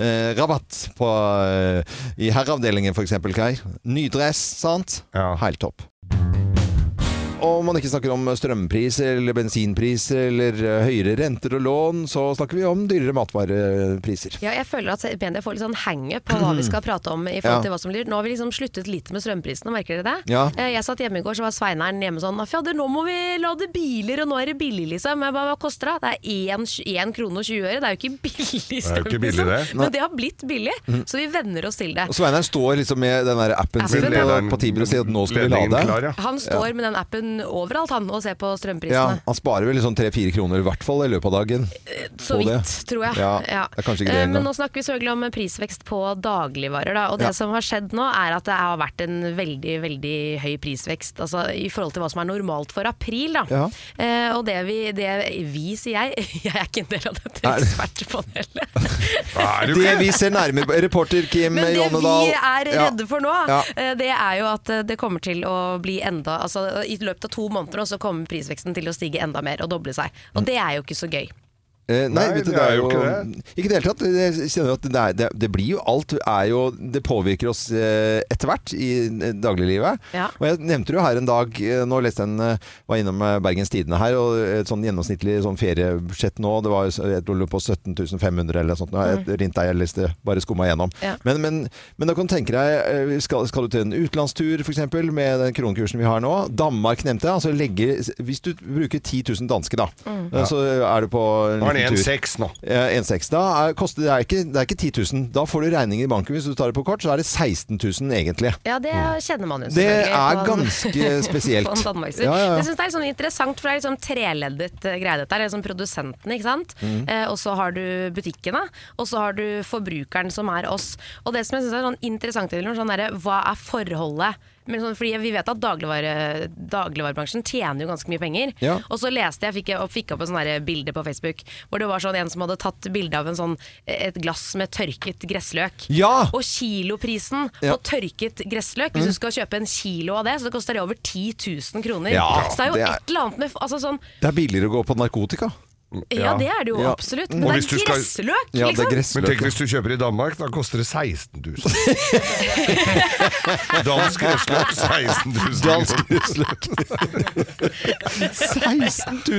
Eh, rabatt på, eh, i herreavdelingen, f.eks., Geir. Ny dress, sant? Ja. Helt topp. Om man ikke snakker om strømpriser eller bensinpriser eller eh, høyere renter og lån, så snakker vi om dyrere matvarepriser.
Ja, jeg føler at media får litt sånn hang-up på hva vi skal prate om. i forhold
Ja.
til hva som blir. Nå har vi liksom sluttet litt med strømprisene, merker dere det?
Ja.
Eh, Jeg satt hjemme i går, så var Sveineren hjemme sånn Fjader, nå må vi lade biler, og nå er det billig, liksom. Jeg bare, hva koster det? Det er 1 krone og 20 øre. Det er jo ikke billig
Det er jo
strøm,
ikke billig,
liksom.
det. Nei.
Men det har blitt billig,
Mhm.
så vi venner oss til det.
Og Sveineren står liksom med den der appen sin
Appen,
på,
ja.
på Tiber og sier at nå skal vi
Ledningen
lade.
klar, ja.
Han står med den appen overalt, han, og ser på
Ja,
strømprisene.
han sparer vel sånn tre-fire kroner i hvert fall i løpet av dagen.
Så
på det.
vidt, tror jeg.
Ja,
Ja.
Det er kanskje ikke
Eh,
det
Men
engang.
nå snakker vi selvfølgelig om prisvekst på dagligvarer. Da. Og det
Ja.
som har skjedd nå, er at det har vært en veldig veldig høy prisvekst. Altså i forhold til hva som er normalt for april. Da.
Ja.
Eh, og det vi, det vi, sier jeg Jeg er ikke en del av dette
Er-
ekspertpanelet.
du
Det
ikke?
vi ser nærmere på Reporter Kim
Men det
Jonnedal.
vi er redde for nå,
Ja.
eh, det er jo at eh, det kommer til å bli enda Altså i løpet av to måneder nå, så kommer prisveksten til å stige enda mer og doble seg. Og det er jo ikke så gøy.
Eh, nei,
Nei,
vet du,
det
det
er
er
jo
jo
ikke
Ikke i det hele tatt. Jeg kjenner at det, er, det, det blir jo alt er jo, Det påvirker oss eh, etter hvert i eh, dagliglivet.
Ja.
Og jeg nevnte det jo her en dag eh, Nå leste jeg en eh, var innom eh, Bergens Tidende her, og et sånn gjennomsnittlig sånn feriebudsjett nå Det var jo så- jeg lå på 17 500 eller noe sånt. nå. Jeg
Mm.
ringte deg, jeg leste bare skumma gjennom.
Ja.
Men, men, men da kan du tenke deg eh, skal, skal du til en utenlandstur f.eks. med den kronekursen vi har nå? Danmark nevnte jeg. Altså legge, hvis du bruker 10 000 danske, da,
Mm.
eh, så er du på
Nå er
en liten
den
tur.
1,6 nå.
Ja, 1,6. Da er, koster, det, er ikke, det er ikke 10 000. Da får du regning i banken. Hvis du tar det på kort, så er det 16 000 egentlig.
Ja, det kjenner man jo
Mm. Det
selvfølgelig.
er
på en-
ganske spesielt.
på en Danmarkstur.
Ja, ja, ja.
Jeg synes det er litt sånn interessant, for det er litt sånn treleddet eh, greie dette. her. Det er liksom produsentene, ikke sant.
Mm.
Mhm.
Eh, og så har du butikkene, og så har du forbrukeren som er oss. Og det som jeg synes er sånn interessant, Elin, er sånn derre, hva er forholdet? Men sånn, fordi vi vet at dagligvare, dagligvarebransjen tjener jo ganske mye penger.
Ja.
Og så leste jeg, fikk, jeg opp- fikk opp en sånn derre bilde på Facebook, hvor det var sånn en som hadde tatt bilde av en sånn, et glass med tørket gressløk.
Ja!
Og kiloprisen
Ja. Mhm.
på tørket gressløk, hvis du skal kjøpe en kilo av det, så det koster det over 10 000 kroner.
Ja,
så det er jo
det er-
et eller annet med altså sånn,
Det er billigere å gå på narkotika.
Ja, det er det jo absolutt. Men
Og
det er
hvis du skal-
gressløk,
Ja, det er
liksom.
gressløk,
Men tenk
ja.
hvis du kjøper i Danmark, da koster det 16 000. Dansk gressløk 16 000.
Dansk gressløk. 16 000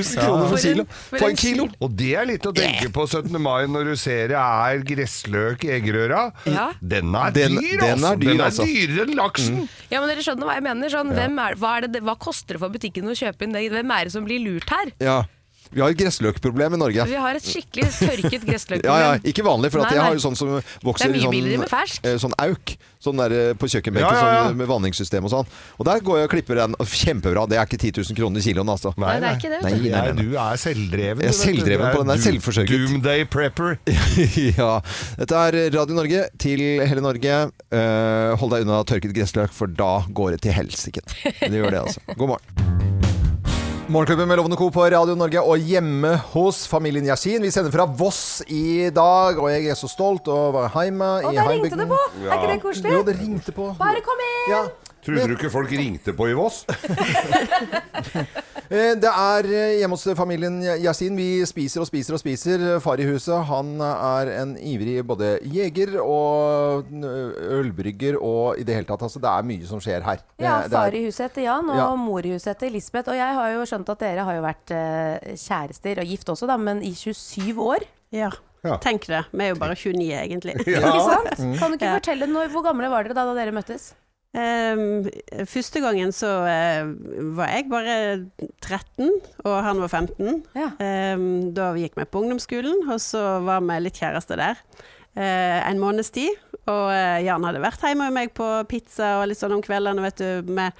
kroner for kilo. For en kilo!
Og det er litt å tenke på 17. mai når du ser det er gressløk i eggerøra.
Ja.
Den er dyr,
Den- den er
altså!
dyr,
Den er
altså.
dyrere enn laksen!
Ja, men Dere skjønner hva jeg mener. Sånn,
Ja.
hvem er, hva, er det, hva koster det for butikken å kjøpe inn det? Hvem er det som blir lurt her?
Ja. Vi har et gressløkproblem i Norge.
Vi har et skikkelig tørket gressløk.
Ja, ja, ikke vanlig, for at
Nei,
jeg har
nei.
jo sånn som vokser
Det er mye
i
billigere med
sånn,
ferskt.
eh, sånn auk. Sånn der eh, på kjøkkenbenken
Ja, ja, ja.
Sånn, med vanningssystem og sånn. Og der går jeg og klipper den. og Kjempebra. Det er ikke 10 000 kroner kiloen, altså.
Nei, det er ikke det, vet
Nei,
du.
nei, nei, nei.
Du er selvdreven. du
Jeg er
vet du.
selvdreven
Du
på den der,
doom-
selvforsørget.
Doomday prepper.
ja. Dette er Radio Norge til hele Norge. Eh, hold deg unna tørket gressløk, for da går det til helsike. Det gjør det, altså. God morgen. Morgenklubben med Lovende Co på Radio Norge og hjemme hos familien Yasin. Vi sender fra Voss i dag, og jeg er så stolt og var hjemme i
Og der ringte
heimbygden.
det på! Er ikke det koselig?
Jo, det ringte på.
Bare kom inn!
Ja.
Tror du ikke folk ringte på i Voss?
Eh, Det er eh, hjemme hos familien Yasin. Vi spiser og spiser og spiser. Far i huset han er en ivrig både jeger og n- ølbrygger og i det hele tatt. Altså, det er mye som skjer her.
Ja,
Eh, Det- det er-
far i huset heter Jan, og
Ja.
mor i huset heter Lisbeth. Og jeg har jo skjønt at dere har jo vært eh, kjærester, og gift også, da, men i 27 år.
Ja.
Ja.
Tenk det. Vi er jo bare 29, egentlig.
Ikke sant?
Mm.
Kan du ikke fortelle når, Hvor gamle var dere da, da dere møttes?
Ehm, første gangen så eh, var jeg bare 13, og han var 15. Ehm, da vi gikk vi på ungdomsskolen, og så var vi litt kjærester der. eh, en måneds tid, og eh, Jan hadde vært hjemme med meg på pizza og litt sånn om kveldene, vet du. Med,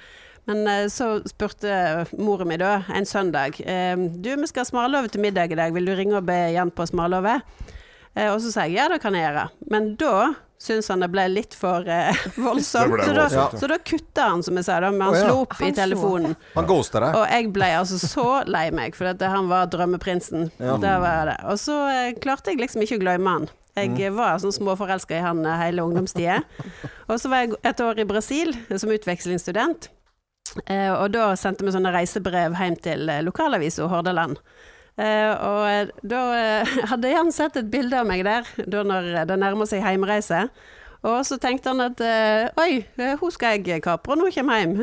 men eh, så spurte moren min da, en søndag, ehm, du vi skal ha smalahove til middag i dag, vil du ringe og be Jan på smalahove? Eh, Og så sa jeg ja, det kan jeg gjøre. Men da syntes han det ble litt for eh, voldsomt.
Det ble
så, da,
voldsomt, ja.
så da kutta han, som jeg sa, da, men han
Å, ja.
slo opp
Han
i
slo
telefonen.
Han ghoster deg.
Og jeg ble altså så lei meg, for at han var drømmeprinsen.
Ja.
Det var det. Og så eh, klarte jeg liksom ikke å glemme han. Jeg eh, var sånn småforelska i han eh, hele ungdomstida. Og så var jeg et år i Brasil eh, som utvekslingsstudent. Eh, og da sendte vi sånne reisebrev hjem til eh, lokalavisa Hordaland. Eh, og eh, da eh, hadde Jan sett et bilde av meg der, da når eh, det nærmer seg heimreise. Og så tenkte han at eh, oi, eh, hun skal jeg kapre når hun kommer hjem.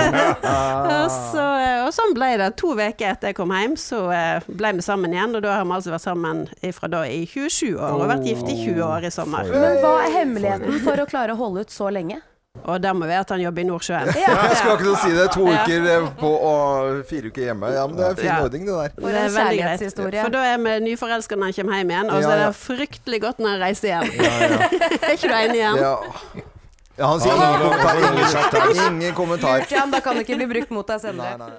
Ah.
og, så, eh, og sånn ble det. To uker etter jeg kom hjem, så eh, ble vi sammen igjen. Og da har vi altså vært sammen fra da i 27 år, og vært gift i 20 år i sommer.
Men hva er hemmeligheten for å klare å holde ut så lenge?
Og det må være at han jobber i Nordsjøen.
Jeg skal akkurat si det. To
Ja.
uker eh, på og fire uker hjemme. Ja, men Det er fin
Ja.
ordning, det der.
Det er veldig greit. For da er vi nyforelska når han kommer hjem igjen, og så
Ja,
er
ja.
det fryktelig godt når han reiser hjem. er ikke du enig igjen?
Ja. Ja, han sier
Ja.
ingen kommentar. Ingen,
Satans.
ingen kommentar.
Jan, da kan det ikke bli brukt mot deg senere.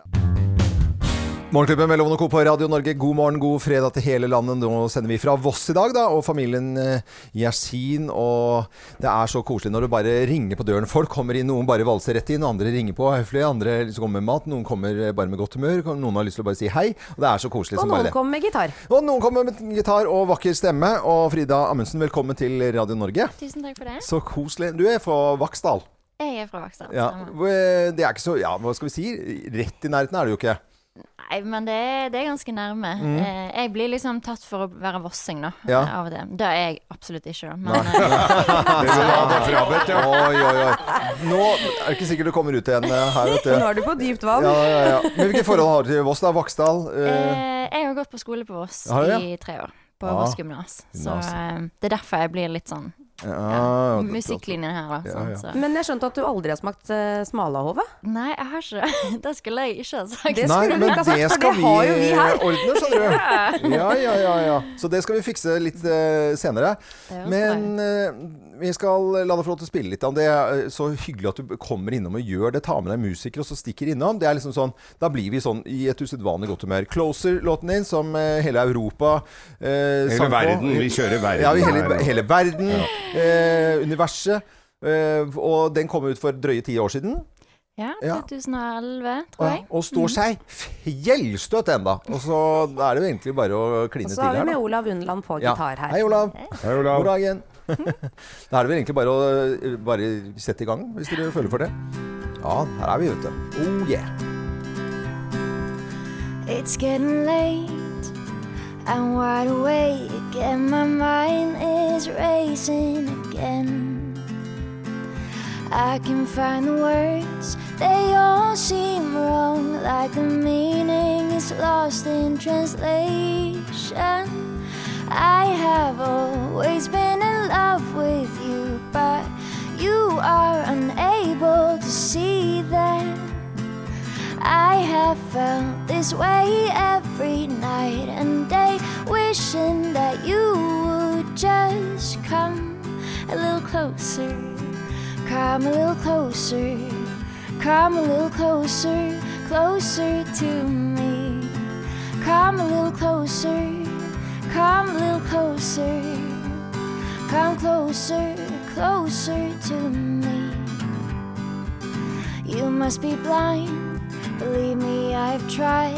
Morgenklubben med Loven og Co. på Radio Norge, god morgen, god fredag til hele landet. Nå sender vi fra Voss i dag, da, og familien eh, Yasin. Og det er så koselig når du bare ringer på døren. Folk kommer inn, noen bare valser rett inn, andre ringer på høflig, andre liksom kommer med mat, noen kommer eh, bare med godt humør, noen har lyst til å bare si hei. Og det er så koselig
Og
som bare
noen
det.
kom med gitar.
Og noen kommer med gitar og vakker stemme. Og Frida Amundsen, velkommen til Radio Norge.
Tusen takk for det.
Så koselig. Du er fra Vaksdal.
Jeg er fra Vaksdal.
Ja,
stemmer.
eh, det er ikke så Ja, hva skal vi si? Rett i nærheten er det jo ikke.
Nei, men det er, det er ganske nærme.
Mm.
Eh, Jeg blir liksom tatt for å være vossing, da.
Ja.
eh, Av og til. Det er jeg absolutt ikke, da.
Nei.
Men, eh,
Det vil ha deg
frabedt, ja.
Oi, oi, oi. Nå er det ikke sikkert du kommer ut igjen eh, her, vet du.
Nå er du på dypt vann.
Ja, ja, ja. Men hvilke forhold har du til Voss, da? Vaksdal? Eh,
eh, jeg har gått på skole på Voss
Har du det? Ah.
i tre år. På
Ja.
Voss gymnas. Så
Gymnas.
eh, det er derfor jeg blir litt sånn
Eh,
ja.
Musikklinjen her, da.
Ja,
Sånn,
ja.
så.
Men jeg skjønte at du aldri har smakt uh, smalahove.
Nei, jeg har ikke det. Det skulle jeg ikke ha sagt.
Det Nei, skulle du men ikke ha sagt, det for skal det har jo vi her.
eh, ordne, skjønner du.
Ja.
Ja, ja, ja, ja. Så det skal vi fikse litt eh, senere.
Det høres
Men eh, vi skal la deg få lov til å spille litt. om Det er eh, så hyggelig at du kommer innom og gjør det. Ta med deg musikere og så stikker innom. Det er liksom sånn, Da blir vi sånn i et usedvanlig godt humør. Closer-låten din, som eh, hele Europa eh,
Hele
sang på.
verden. Vi kjører verden
Ja, vi hele,
her nå.
hele verden. Eh, universet. Eh, og den kom ut for drøye ti år siden.
Ja,
Ja.
2011,
Og,
tror jeg.
og
Mm.
står seg fjellstøtt enda Og så er det jo egentlig bare å
Og
kline til
så har
her.
vi med
da.
Olav Undland på
Ja.
gitar her.
Hei, Olav.
Hei, Olav.
God dag igjen. da er det vel egentlig bare å eh, bare sette i gang, hvis dere føler for det. Ja, her er vi, vet du. Oh yeah.
It's getting late. I'm wide awake and my mind is racing again. I can find the words, they all seem wrong, like the meaning is lost in translation. I have always been in love with you, but you are unable to see that. I have I felt this way every night and day, wishing that you would just come a little closer, come a little closer, come a little closer, closer to me, come a little closer, come a little closer, come closer, closer to me. You must be blind. Believe me, I've tried,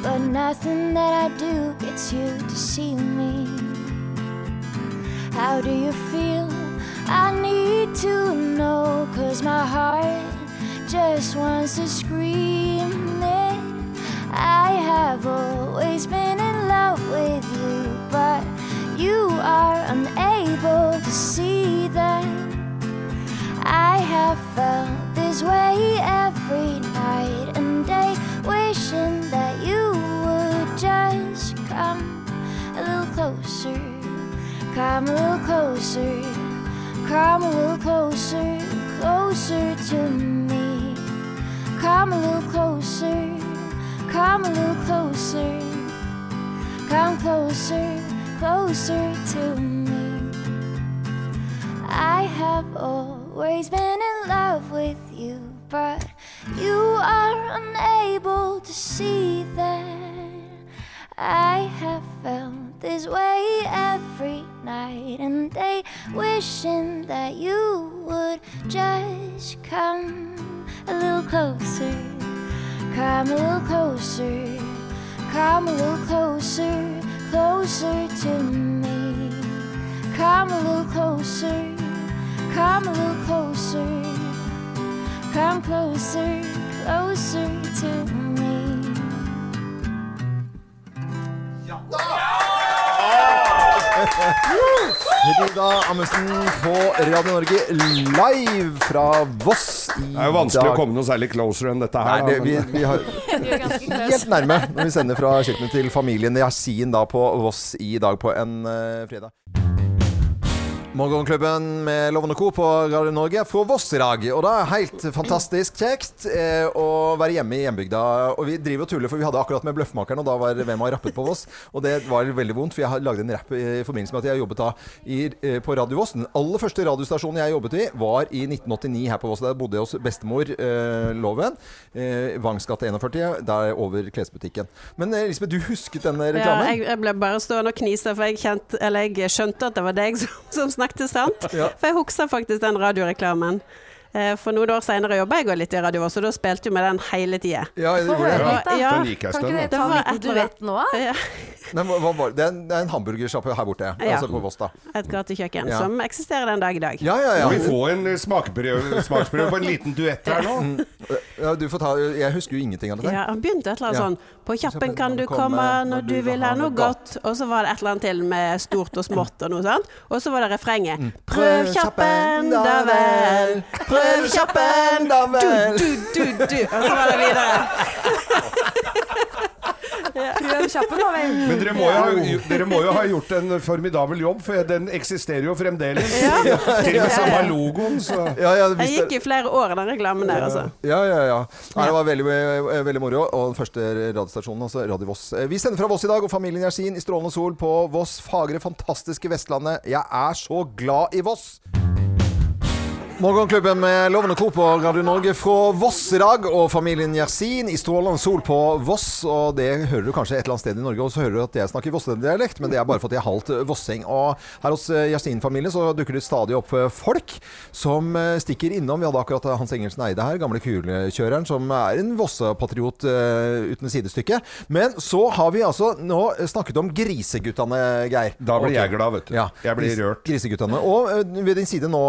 but nothing that I do gets you to see me. How do you feel? I need to know, cause my heart just wants to scream it. I have always been in love with you, but you are unable to see that. I have felt this way every night and day, wishing that you would just come a little closer, come a little closer, come a little closer, closer to me, come a little closer, come a little closer, come closer, closer to me. I have always been in love with you, but you are unable to see that. I have felt this way every night and day, wishing that you would just come a little closer, come a little closer, come a little closer, closer to me, come a little closer. Come a little closer. Come closer, closer to me.
Frida Amundsen på Radio Norge live fra Voss i
Det er jo vanskelig
dag.
å komme noe særlig closer enn dette her.
Nei, det,
da,
vi,
men-
vi har helt nærme når vi sender fra kjøkkenet til familien Yasin da på Voss i dag på en eh, fredag. Morgenklubben med Loven og Co. på Radio Norge fra Voss i dag. Og det er helt fantastisk kjekt eh, å være hjemme i hjembygda. Og vi driver og tuller, for vi hadde akkurat med Bløffmakeren, og da var hvem har rappet på Voss. Og det var veldig vondt, for jeg har lagde en rapp i forbindelse med at jeg jobbet da i, eh, på Radio Voss. Den aller første radiostasjonen jeg jobbet i, var i 1989 her på Voss. Der bodde jeg hos bestemor eh, Loven. Eh, Vangsgata 41, der over klesbutikken. Men eh, Lisbeth, du husket denne
Ja,
reklamen?
jeg, jeg ble bare stående og knise, for jeg, kjente, eller jeg skjønte at det var deg som, som snakket sant.
Ja.
For jeg husker faktisk den radioreklamen. Eh, For noen år senere jobba jeg også litt i radio, så da spilte vi med den hele tida.
Ja, det gjorde jeg.
Ja.
Den gikk jeg
Kan
stund, da.
ikke dere ta en
Det var
liten
etter-
duett nå? da?
Nei, hva, hva var det? Det er en, det er en hamburgersjappe her borte,
Ja.
altså på Voss, da.
Et gatekjøkken
Ja.
som eksisterer den dag i dag.
Ja, ja, ja.
Kan vi få en eh, smakeprøve, smaksprøve på en liten duett her nå?
Mm. Ja, du får ta, jeg husker jo ingenting av dette.
Ja, han begynte et eller annet
Ja.
sånn På kjappen kan du komme når du vil ha noe godt. Og så var det et eller annet til med stort og smått og noe sånt. Og så var det refrenget.
Mm.
Prøv kjappen, da vel. Prøv kjappen, da vel. Du, du, du, du. Og så var det videre.
Prøv kjappen, da vel.
Men dere må, jo, dere må jo ha gjort en formidabel jobb, for den eksisterer jo fremdeles.
Ja.
Til og med samme logoen, så
Ja, ja,
Jeg gikk i flere år, den reklamen der, altså.
Ja, ja, ja. Nei, det var veldig, eh, veldig moro. Og den første radiostasjonen, altså Radio Voss. Eh, Vi sender fra Voss i dag, og familien Yersin i strålende sol på Voss fagre, fantastiske Vestlandet. Jeg er så glad i Voss! Morgenklubben med Loven og Co. på Radio Norge fra Vosserag og familien Yersin i strålende sol på Voss. Og det hører du kanskje et eller annet sted i Norge, og så hører du at jeg snakker vossedialekt, men det er bare fordi jeg er halvt vossing. Og her hos eh, Yersin-familien så dukker det stadig opp eh, folk som eh, stikker innom. Vi hadde akkurat eh, Hans Engelsen Eide her, gamle kulekjøreren, som er en Vossa-patriot eh, uten sidestykke. Men så har vi altså nå snakket om griseguttene, Geir.
Da blir
Ok.
jeg glad, vet du. Jeg blir
Gris-
rørt.
Griseguttene. Og ø, ved din side nå,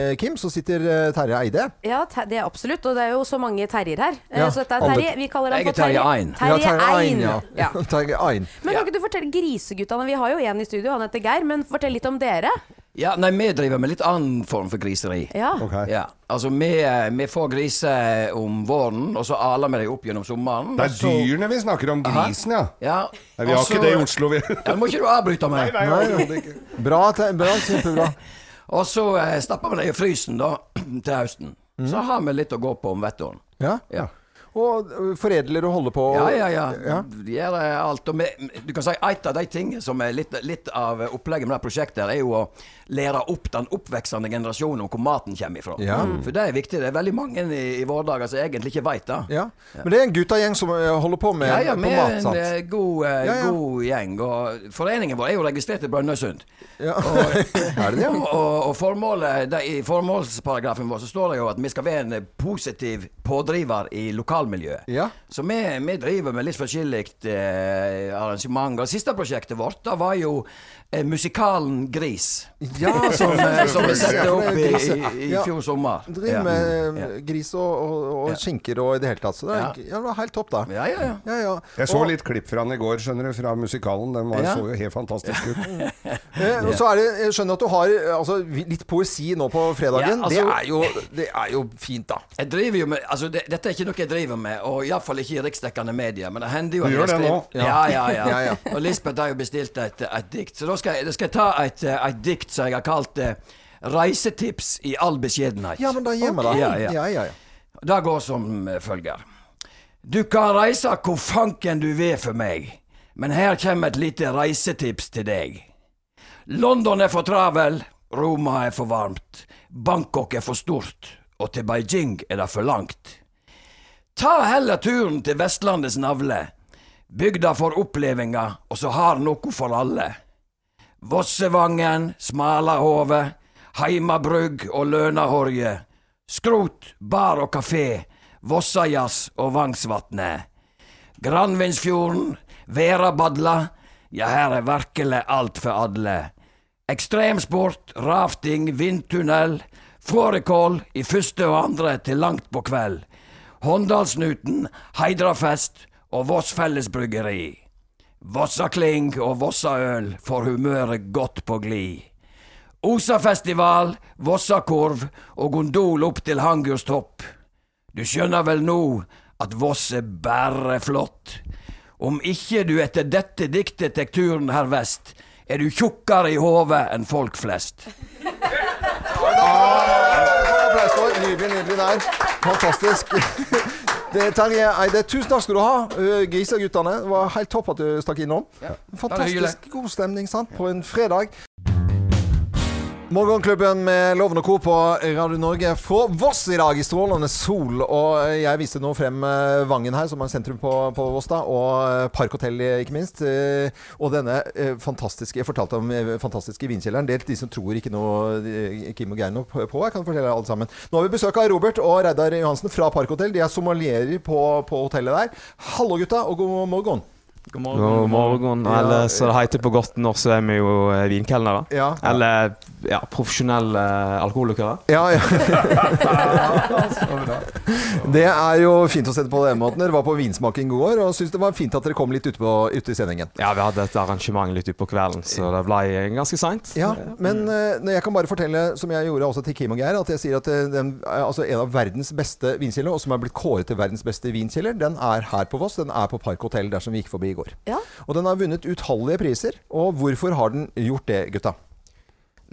ø, Kim, så sitter ø, Terje Eide.
Ja, te- det er absolutt. Og det er jo så mange Terjer her. Eh,
Ja,
Så dette er
alle-
Terje. Vi kaller han for
Ja, Terje Ein.
Terje
Ja.
Ein. Ja.
Terje Ein.
Men kan ikke du fortelle griseguttene? Vi har jo en i studio, han heter Geir. Men fortell litt om dere.
Ja, nei, vi driver med litt annen form for griseri.
Ja.
Ja, altså vi, vi får griser om våren, og så aler vi dem opp gjennom sommeren.
Det er dyrene vi snakker om. Grisen, ja.
ja.
Nei, vi har ikke det i Oslo, vi.
Ja, nå må ikke du avbryte meg.
Nei, nei, overhodet ikke.
Bra, bra, kjempebra.
Og så eh,
Mm.
stapper vi dem i frysen da, til høsten. Så har vi litt å gå på om vetteren.
Ja.
Ja.
og eh, foredler og holder på.
Ja, ja, ja. De gjør eh, alt. Og med, du kan si et av de tingene som er litt, litt av opplegget med det prosjektet, her, er jo å lære opp den oppveksende generasjonen om hvor maten kommer ifra. Mm.
Ja.
For det er viktig. Det er veldig mange i, i våre dager som egentlig ikke veit det.
Ja. Men det er en guttagjeng som eh, holder på med,
ja, ja,
på
vi
mat,
er en
sant?
eh, god, eh,
Ja, ja.
god gjeng. Og foreningen vår er jo registrert i Brønnøysund.
Er det det?
Og, og, og formålet, det, I formålsparagrafen vår så står det jo at vi skal være en eh, positiv pådriver i lokalmiljøet. Så vi, vi driver med litt forskjellig eh, arrangement. Og siste prosjektet vårt da var jo eh, musikalen Gris.
Ja,
som, eh, som vi satte opp i, i, i
Ja.
fjor sommer.
Driver
Ja.
med eh, gris og, og, og skinker og i det hele tatt. Så det, er, ja. det var helt topp, da.
Ja, ja, ja.
Jeg så
Og-
litt klipp fra han i går, skjønner du, fra musikalen. Den var,
Ja.
så jo helt fantastisk ut.
Eh, og så er det, jeg skjønner at du har eh, altså, vi- litt poesi nå på fredagen.
Ja, altså-
det, er jo, det er jo fint, da.
Jeg driver jo med, altså det, Dette er ikke noe jeg driver med, og iallfall ikke i riksdekkende medier. Men det hender jo
Du
at
gjør
jeg
det
skriver-
nå.
Ja, ja, ja.
Ja, ja.
Og Lisbeth har jo bestilt et, et dikt. Så da skal jeg, da skal jeg ta et, eh, et dikt som jeg har kalt eh, 'Reisetips i all beskjedenhet'.
Ja, men da gir vi det.
Ok. Ja, ja.
Ja, ja, ja.
Det går som eh, følger. Du kan reise hvor fanken du vil for meg, men her kommer et lite reisetips til deg. London er for travel, Roma er for varmt, Bangkok er for stort, og til Beijing er det for langt. Ta heller turen til Vestlandets navle. Bygda får opplevinga, og så har noe for alle. Vossevangen, Smalahovet, Heimabrugg og Lønahorje. Skrot, bar og kafé, Vossajazz og Vangsvatnet. Granvinsfjorden, Verabadla, ja her er virkelig alt for alle. Ekstremsport, rafting, vindtunnel, fårikål i første og andre til langt på kveld. Håndalsnuten, Heidrafest og Voss Fellesbryggeri. Vossakling og Vossaøl får humøret godt på glid. Osafestival, Vossakorv og gondol opp til Hangurstopp. Du skjønner vel nå at Voss er bare flott. Om ikke du etter dette diktet tek turen herr vest, er du tjukkere i hodet enn folk flest.
Applaus for. Nydelig, nydelig der. Fantastisk. Det, Terje Eide, tusen takk skal du ha. Eh, Griseguttene. Det var helt topp at du stakk innom. Fantastisk god stemning sant? på en fredag. Morgenklubben med Loven og Co. på Radio Norge fra Voss i dag i strålende sol. Og jeg viste nå frem eh, Vangen her, som er sentrum på, på Voss, da, og eh, Parkhotell, eh, ikke minst. Eh, Og denne eh, fantastiske Jeg fortalte om eh, fantastiske vinkjelleren. Det er de som tror ikke noe eh, Kim og Geir noe på. Jeg kan fortelle dere alle sammen. Nå har vi besøk av Robert og Reidar Johansen fra Parkhotell. De er sommelierer på, på hotellet der. Hallo, gutta, og god morgen. God
God morgen.
Ja,
Eller så det heter på godt norsk, så er vi jo eh, vinkelnere.
Ja.
Eller ja, profesjonelle eh, alkoholikere.
Ja, ja. Det er jo fint å se det på den måten. Dere var på vinsmaking i går og syntes det var fint at dere kom litt ute, på, ute i sendingen.
Ja, vi hadde et arrangement litt utpå kvelden, så det ble eh, ganske seint.
Ja, men eh, når jeg kan bare fortelle, som jeg gjorde også til Kim og Geir, at jeg sier at eh, den, eh, altså en av verdens beste vinkjeller, og som er blitt kåret til verdens beste vinkjeller, den er her på Voss. Den er på Park Hotell, dersom vi gikk forbi i går. Og den har vunnet utallige priser. Og hvorfor har den gjort det, gutta?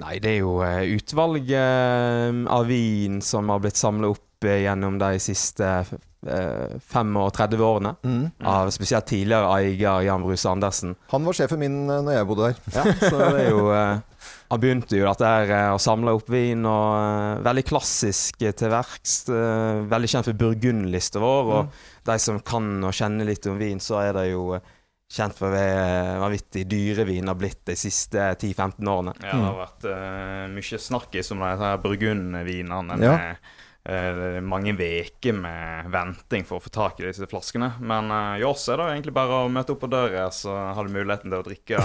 Nei, det er jo eh, utvalget eh, av vin som har blitt samla opp eh, gjennom de siste eh, 35 årene.
Mm.
Av spesielt tidligere eier Jan Bruse Andersen.
Han var sjefen min eh, når jeg bodde der.
Ja, så det er jo eh, Han begynte jo dette her eh, å samle opp vin, og eh, veldig klassisk eh, til verks. eh, Veldig kjent for burgundlista vår, og de som kan og kjenner litt om vin, så er det jo eh, kjent for å være vanvittig dyre vin har blitt de siste 10-15 årene.
Ja, det har vært eh, mye snakkis om disse her burgundvinene.
Ja.
med, eh, mange uker med venting for å få tak i disse flaskene. Men eh, i oss er det jo egentlig bare å møte opp på døra, så har du muligheten til å drikke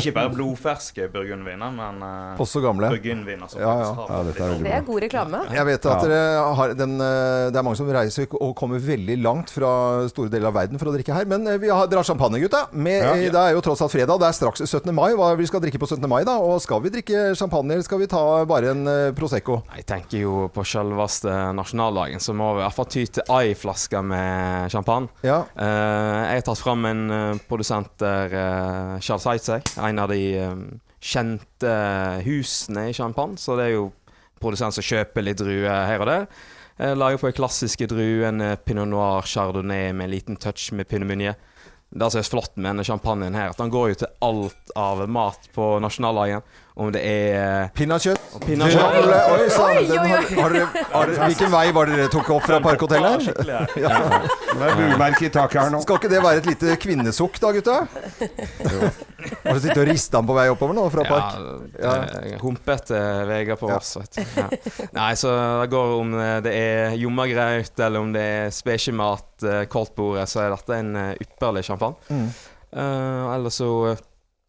ikke bare blodferske burgundviner, men eh,
Også gamle.
burgundviner
Altså,
som
Ja, ja.
faktisk
Ja,
har
dette er veldig
Det er god reklame.
Jeg vet at dere har den, eh, det er mange som reiser og kommer veldig langt fra store deler av verden for å drikke her. Men eh, vi har, drar champagne, gutta. Med,
Ja.
eh, Det er jo tross alt fredag. Det er straks 17. mai. Hva vi skal drikke på 17. mai, da? Og skal vi drikke champagne, eller skal vi ta bare en eh, Prosecco?
Jeg tenker jo på selveste nasjonaldagen, så må vi i hvert fall ty til ei flaske med champagne. Eh, jeg har tatt fram en eh, produsent der, eh, Charles Heitzeg, en av de eh, kjente husene i champagne. Så det er jo produsent som kjøper litt druer her og der. Jeg lager på klassiske druer, en eh, pinot noir chardonnay med en liten touch med pinot meunier. Det som er flott med denne champagnen, her, at den går jo til alt av mat på nasjonaldagen. Om det er eh,
Pinnekjøtt.
Pinnekjøtt.
Oi, oi, sann, den har- har dere- har dere- Hvilken vei var det dere tok opp fra Parkhotellet her?
Ja. Det er buemerke i taket her nå.
Skal ikke det være et lite kvinnesukk da, gutta? Har du sittet og rista den på vei oppover nå fra Park?
Ja, det er humpete vegger på oss, vet du. Ja. Nei, så det går om eh, det er jommagraut eller om det er spekjemat, eh, koldtbordet, så er dette en eh, ypperlig champagne.
Mm.
Eh, ellers så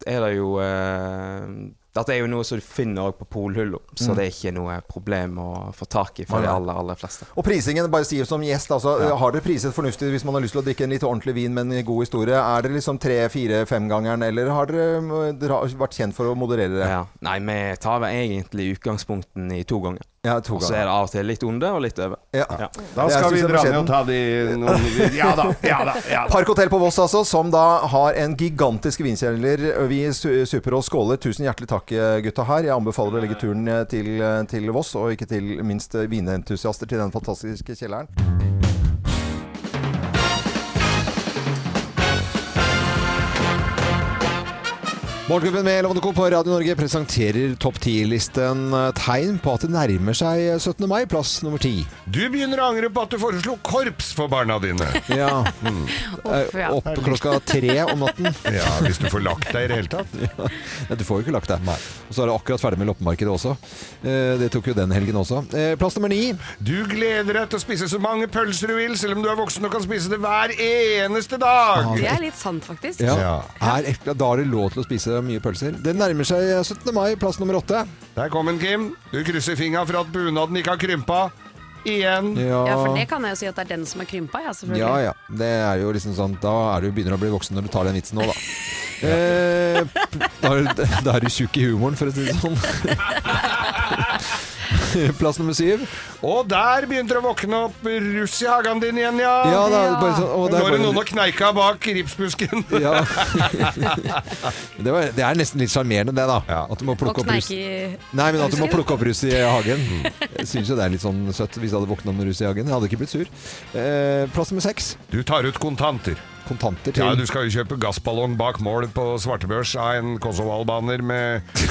er det jo eh, Dette er jo noe som du finner også på polhylla, så
Mm.
det er ikke noe problem å få tak i for
Nei,
de
nei.
aller, aller fleste.
Og prisingen, bare si som gjest, altså,
Ja.
har dere priset fornuftig hvis man har lyst til å drikke en litt ordentlig vin med en god historie? Er det liksom tre-fire-femgangeren, eller har dere mm, dere har vært kjent for å moderere det?
Ja. Nei, vi tar vel egentlig utgangspunkten i to ganger.
Ja, to
Og så
ganger.
er det av og til litt under og litt over. Ja.
Da skal vi dra ned og ta
de noen Ja da, ja da. ja da.
Park Hotel på Voss, altså, som da har en gigantisk vinkjeller. Vi su- supper og skåler. Tusen hjertelig takk, gutta her. Jeg anbefaler å legge turen eh, til, til Voss, og ikke til minst eh, vinentusiaster til den fantastiske kjelleren. Morgenklubben med Lovende Co. på Radio Norge presenterer topp 10-listen tegn på at det nærmer seg 17. mai, plass nummer 10.
Du begynner å angre på at du foreslo korps for barna dine.
Ja.
Mm.
Eh, Opp klokka tre om natten.
Ja, hvis du får lagt deg i det hele tatt.
Ja. Nei, du får jo ikke lagt deg. Og så er det akkurat ferdig med loppemarkedet også. Eh, Det tok jo den helgen også. Eh, Plass nummer ni.
Du gleder deg til å spise så mange pølser du vil, selv om du er voksen og kan spise det hver eneste dag.
Ja,
Det er litt sant, faktisk.
Ja. Er, ekle- da er det lov til å spise mye pølser. Det nærmer seg 17. mai, plass nummer åtte.
Der kom den, Kim. Du krysser fingra for at bunaden ikke har krympa. Igjen.
Ja, for det kan jeg jo si at det er den som er krympa, ja, selvfølgelig.
Ja, ja. Det er jo liksom sånn Da er du begynner å bli voksen når du tar den vitsen nå, da. Eh, da, er du- da er du tjukk i humoren, for å si det sånn. Plass nummer syv.
Og der begynte det å våkne opp russ i hagen din igjen, ja.
Ja, da er det bare sånn- og
Nå
det er
er det
bare-
noen og kneika bak ripsbusken.
Ja. Det, var, det er nesten litt sjarmerende, det, da. At du må
Og
plukke opp rus.
kneik i
Nei, men at du må
rusken.
plukke opp rus i hagen. Jeg syns jo det er litt sånn søtt hvis jeg hadde våkna med rus i hagen. Jeg hadde ikke blitt sur. Eh, plass nummer seks.
Du tar ut kontanter.
Kontanter til
Ja, du skal jo kjøpe gassballong bak mål på svartebørs av en kosovoalbaner med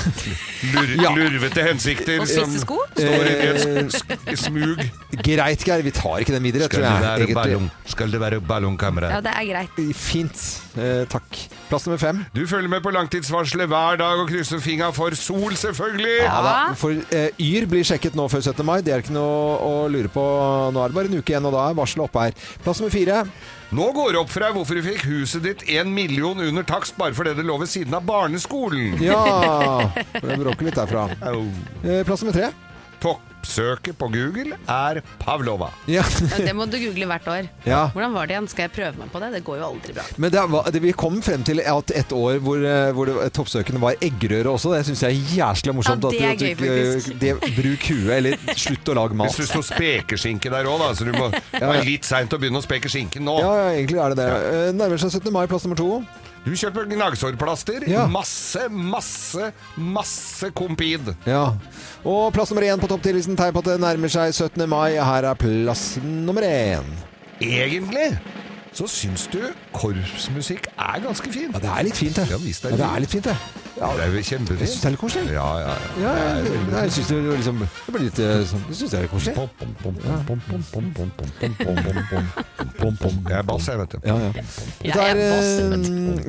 lur lurvete hensikter.
Og
som
spisse sko?
Står i
Eh,
et sk- sk- smug.
Greit, Geir. Vi tar ikke den videre. jeg tror jeg, egentlig.
Skal det være
Ja,
ballongkamera?
det er greit.
Fint. Eh, takk. Plass nummer fem.
Du følger med på langtidsvarselet hver dag og krysser fingra for sol, selvfølgelig.
Ja da, for eh, Yr blir sjekket nå før 17. mai. Det er ikke noe å lure på. Nå er det bare en uke igjen, og da er varselet oppe her. Plass nummer fire.
Nå går det opp for deg hvorfor du fikk huset ditt én million under takst bare fordi det lå ved siden av barneskolen.
Ja Det bråker litt derfra. Eh, plass nummer tre.
Toppsøket på Google er Pavlova.
Ja.
Ja, det må du google hvert år.
Ja.
Hvordan var det igjen? Skal jeg prøve meg på det? Det går jo aldri bra.
Men det var, det, vi kom frem til at et år hvor, eh, hvor det, toppsøkende var eggerøre også. Det syns jeg er jævlig morsomt.
Ja, det er
at du- at du
gøy,
ikke-
faktisk.
det, bruk huet, eller slutt å lage mat.
Hvis du står spekeskinke der òg, da, så du må
Ja, ja.
være litt seint å begynne å speke skinken nå.
ja, ja, egentlig er det det. Eh, Nærmer seg 17. mai, plass nummer to.
Du kjøper gnagsårplaster. Masse, masse, masse Compid.
Ja. Og plass nummer én på topp 10-listen tegn på at det nærmer seg 17. mai. Her er plass nummer én.
Egentlig så syns du korpsmusikk er ganske fint. Ja,
det er litt fint, det.
Ja, visst
Ja, det er litt fint, det.
Det er jo kjempefint.
Jeg syns det er litt koselig.
Ja, ja, ja.
Ja, ja, ja, jeg syns det var liksom Det ble litt eh, sånn Jeg syns det er litt koselig.
Jeg er bass, jeg, vet du.
Ja, ja.
Jeg
Dette
er
eh,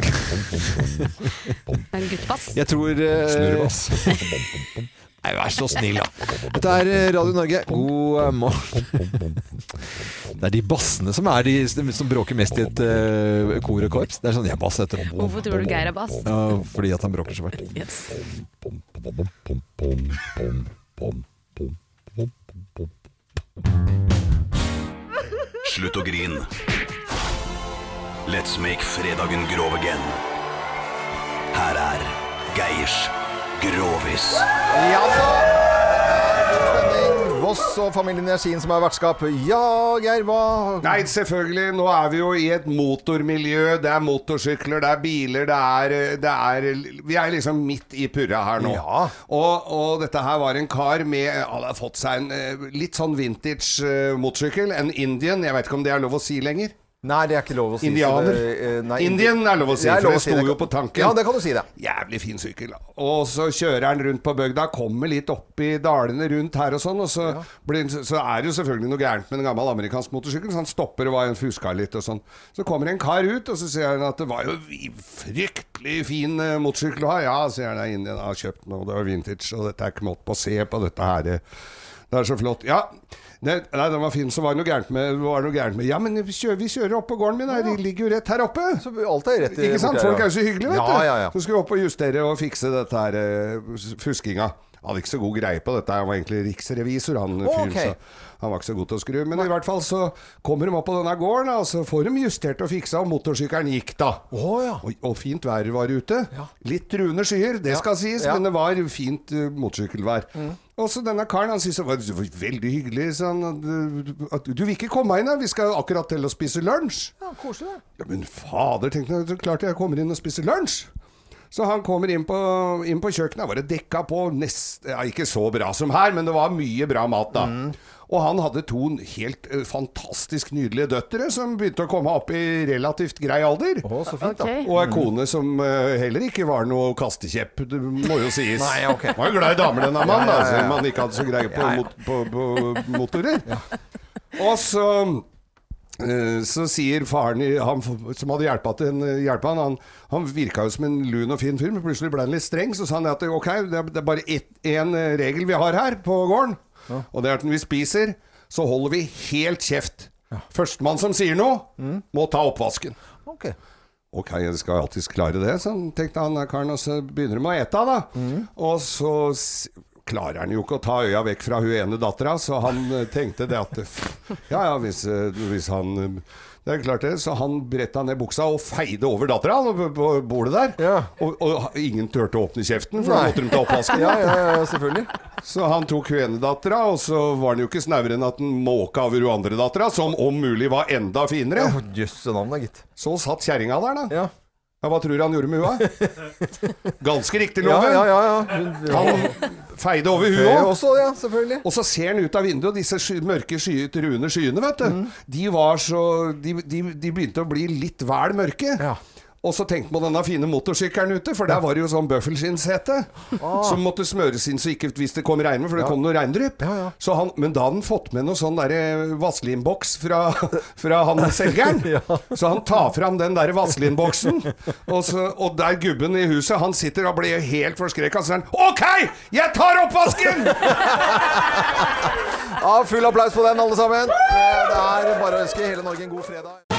En guttepass.
Jeg tror eh, Nei, vær så snill, da. Dette er eh, Radio Norge. God eh, morgen. Det er de bassene som er de som bråker mest i et eh, kor og korps. Det er sånn Jeg er bass, heter det.
Hvorfor tror du Geir er bass?
Ja, fordi at han bråker så fælt.
Yes.
Slutt å grin. Let's make fredagen grov again. Her er Geirs Grovis.
Ja da! Alvås og familien Gjersin som er vertskap. Ja, Geir, hva
Nei, selvfølgelig. Nå er vi jo i et motormiljø. Det er motorsykler, det er biler, det er, det er Vi er liksom midt i purra her nå. Og, og dette her var en kar med Han har fått seg en eh, litt sånn vintage eh, motorsykkel. En Indian. Jeg vet ikke om det er lov å si lenger.
Nei, det er ikke lov å si.
Indianer.
Så det- eh, nei,
Indian er lov å si,
Det er
for
lov
det
å si,
sto
det
jo
kan-
på tanken.
Ja, det kan du si, det.
Jævlig fin sykkel. da. Og så kjører han rundt på bygda, kommer litt opp i dalene rundt her og sånn, og så, blir, så er det jo selvfølgelig noe gærent med en gammel amerikansk motorsykkel, så han stopper og var en fuska litt og sånn. Så kommer en kar ut, og så sier han at det var jo vi- fryktelig fin eh, motorsykkel å ha. Ja, sier han, jeg Indian har kjøpt noe, det var vintage, og dette er ikke måte på å se på dette her. eh. Det er så flott. Ja, det, nei, den var fin, så var det noe gærent med, var det noe gærent med. Ja, men vi kjører, vi kjører opp på gården min, her. de ligger jo rett her oppe.
Så alt er rett i-
Ikke sant?
borti her,
Folk
ja.
er jo så hyggelige, vet
Ja,
du.
ja, ja.
Så skulle vi opp og justere og fikse dette her eh, fuskinga. Han hadde ikke så god greie på dette, han var egentlig riksrevisor, han
Å,
fyren.
ok.
Så han var ikke så god til å skru. Men i hvert fall så kommer de opp på denne gården, og så får de justert og fiksa, og motorsykkelen gikk da. og, og fint vær var ute. Litt truende skyer, det
Ja.
skal sies,
Ja.
men
Mm.
det var fint eh, motorsykkelvær. Og så denne karen, han syntes det var det var veldig hyggelig. Så han, eh, at, du vil ikke komme inn her, vi skal akkurat til å spise lunsj.
Ja, koselig, det.
Ja, men fader, tenkte jeg, så klart jeg kommer inn og spiser lunsj. Så han kommer inn på, inn på kjøkkenet, var det dekka på nest, ja, Ikke så bra som her, men det var mye bra mat da.
Mm.
Og han hadde to helt eh, fantastisk nydelige døtre som begynte å komme opp i relativt grei alder.
så fint, da. Ok.
Og ei kone som eh, heller ikke var noe kastekjepp, det må jo sies.
Nei, ok.
Han var jo glad i damer, denne mannen,
Ja,
da,
ja, ja.
selv om han ikke hadde så greie på,
Ja, ja.
mot, på, på motorer. Og så eh, så sier faren i- han, f- som hadde hjulpet til- hjulpet han, han Han virka jo som en lun og fin fyr, men plutselig ble han litt streng. Så sa han at ok, det er, det er bare én regel vi har her på gården. Og det er at når vi spiser, så holder vi helt kjeft. Førstemann som sier noe, må ta oppvasken.
Ok.
Ok, jeg skal alltids klare det, så han tenkte han der karen, og så begynner de å ete, da.
Mhm.
Og så s- klarer han jo ikke å ta øya vekk fra hun ene dattera, så han eh, tenkte det at Ja ja, hvis, eh, hvis han eh, Det er klart det. Så han bretta ned buksa og feide over dattera han, på- på bordet der. Og, og ingen turte å åpne kjeften, for da
Nei.
måtte de ta oppvasken.
Ja, ja, ja, selvfølgelig.
Så han tok hun ene dattera, og så var han jo ikke snauere enn at han måka over hun andre dattera, som om mulig var enda finere.
Jøsse navn, da, gitt.
Så satt kjerringa der, da. Ja. Hva tror du han gjorde med hua? Ganske riktig,
Ja,
Loven.
ja, ja, ja. Hun-
Han feide over huet
Feide
også.
også, ja, selvfølgelig.
Og så ser han ut av vinduet, og disse sky, mørke, sky, truende skyene, vet du.
Mm.
De, var så, de, de, de begynte å bli litt vel mørke. Og så tenkte man denne fine motorsykkelen ute, for der var det jo sånn bøffelskinnshete.
Ah.
Som måtte smøres inn så ikke hvis det kom regn, for det
Ja.
kom noe regndrypp. Så han, men da hadde han fått med noe sånn derre vaselinboks fra, fra han selgeren. Så han tar fram den derre vaselinboksen, og, så- og der gubben i huset, han sitter og blir helt forskrekka, så sier han OK, jeg tar oppvasken!
Ja, full applaus på den, alle sammen. Eh, Det er bare å ønske hele Norge en god fredag.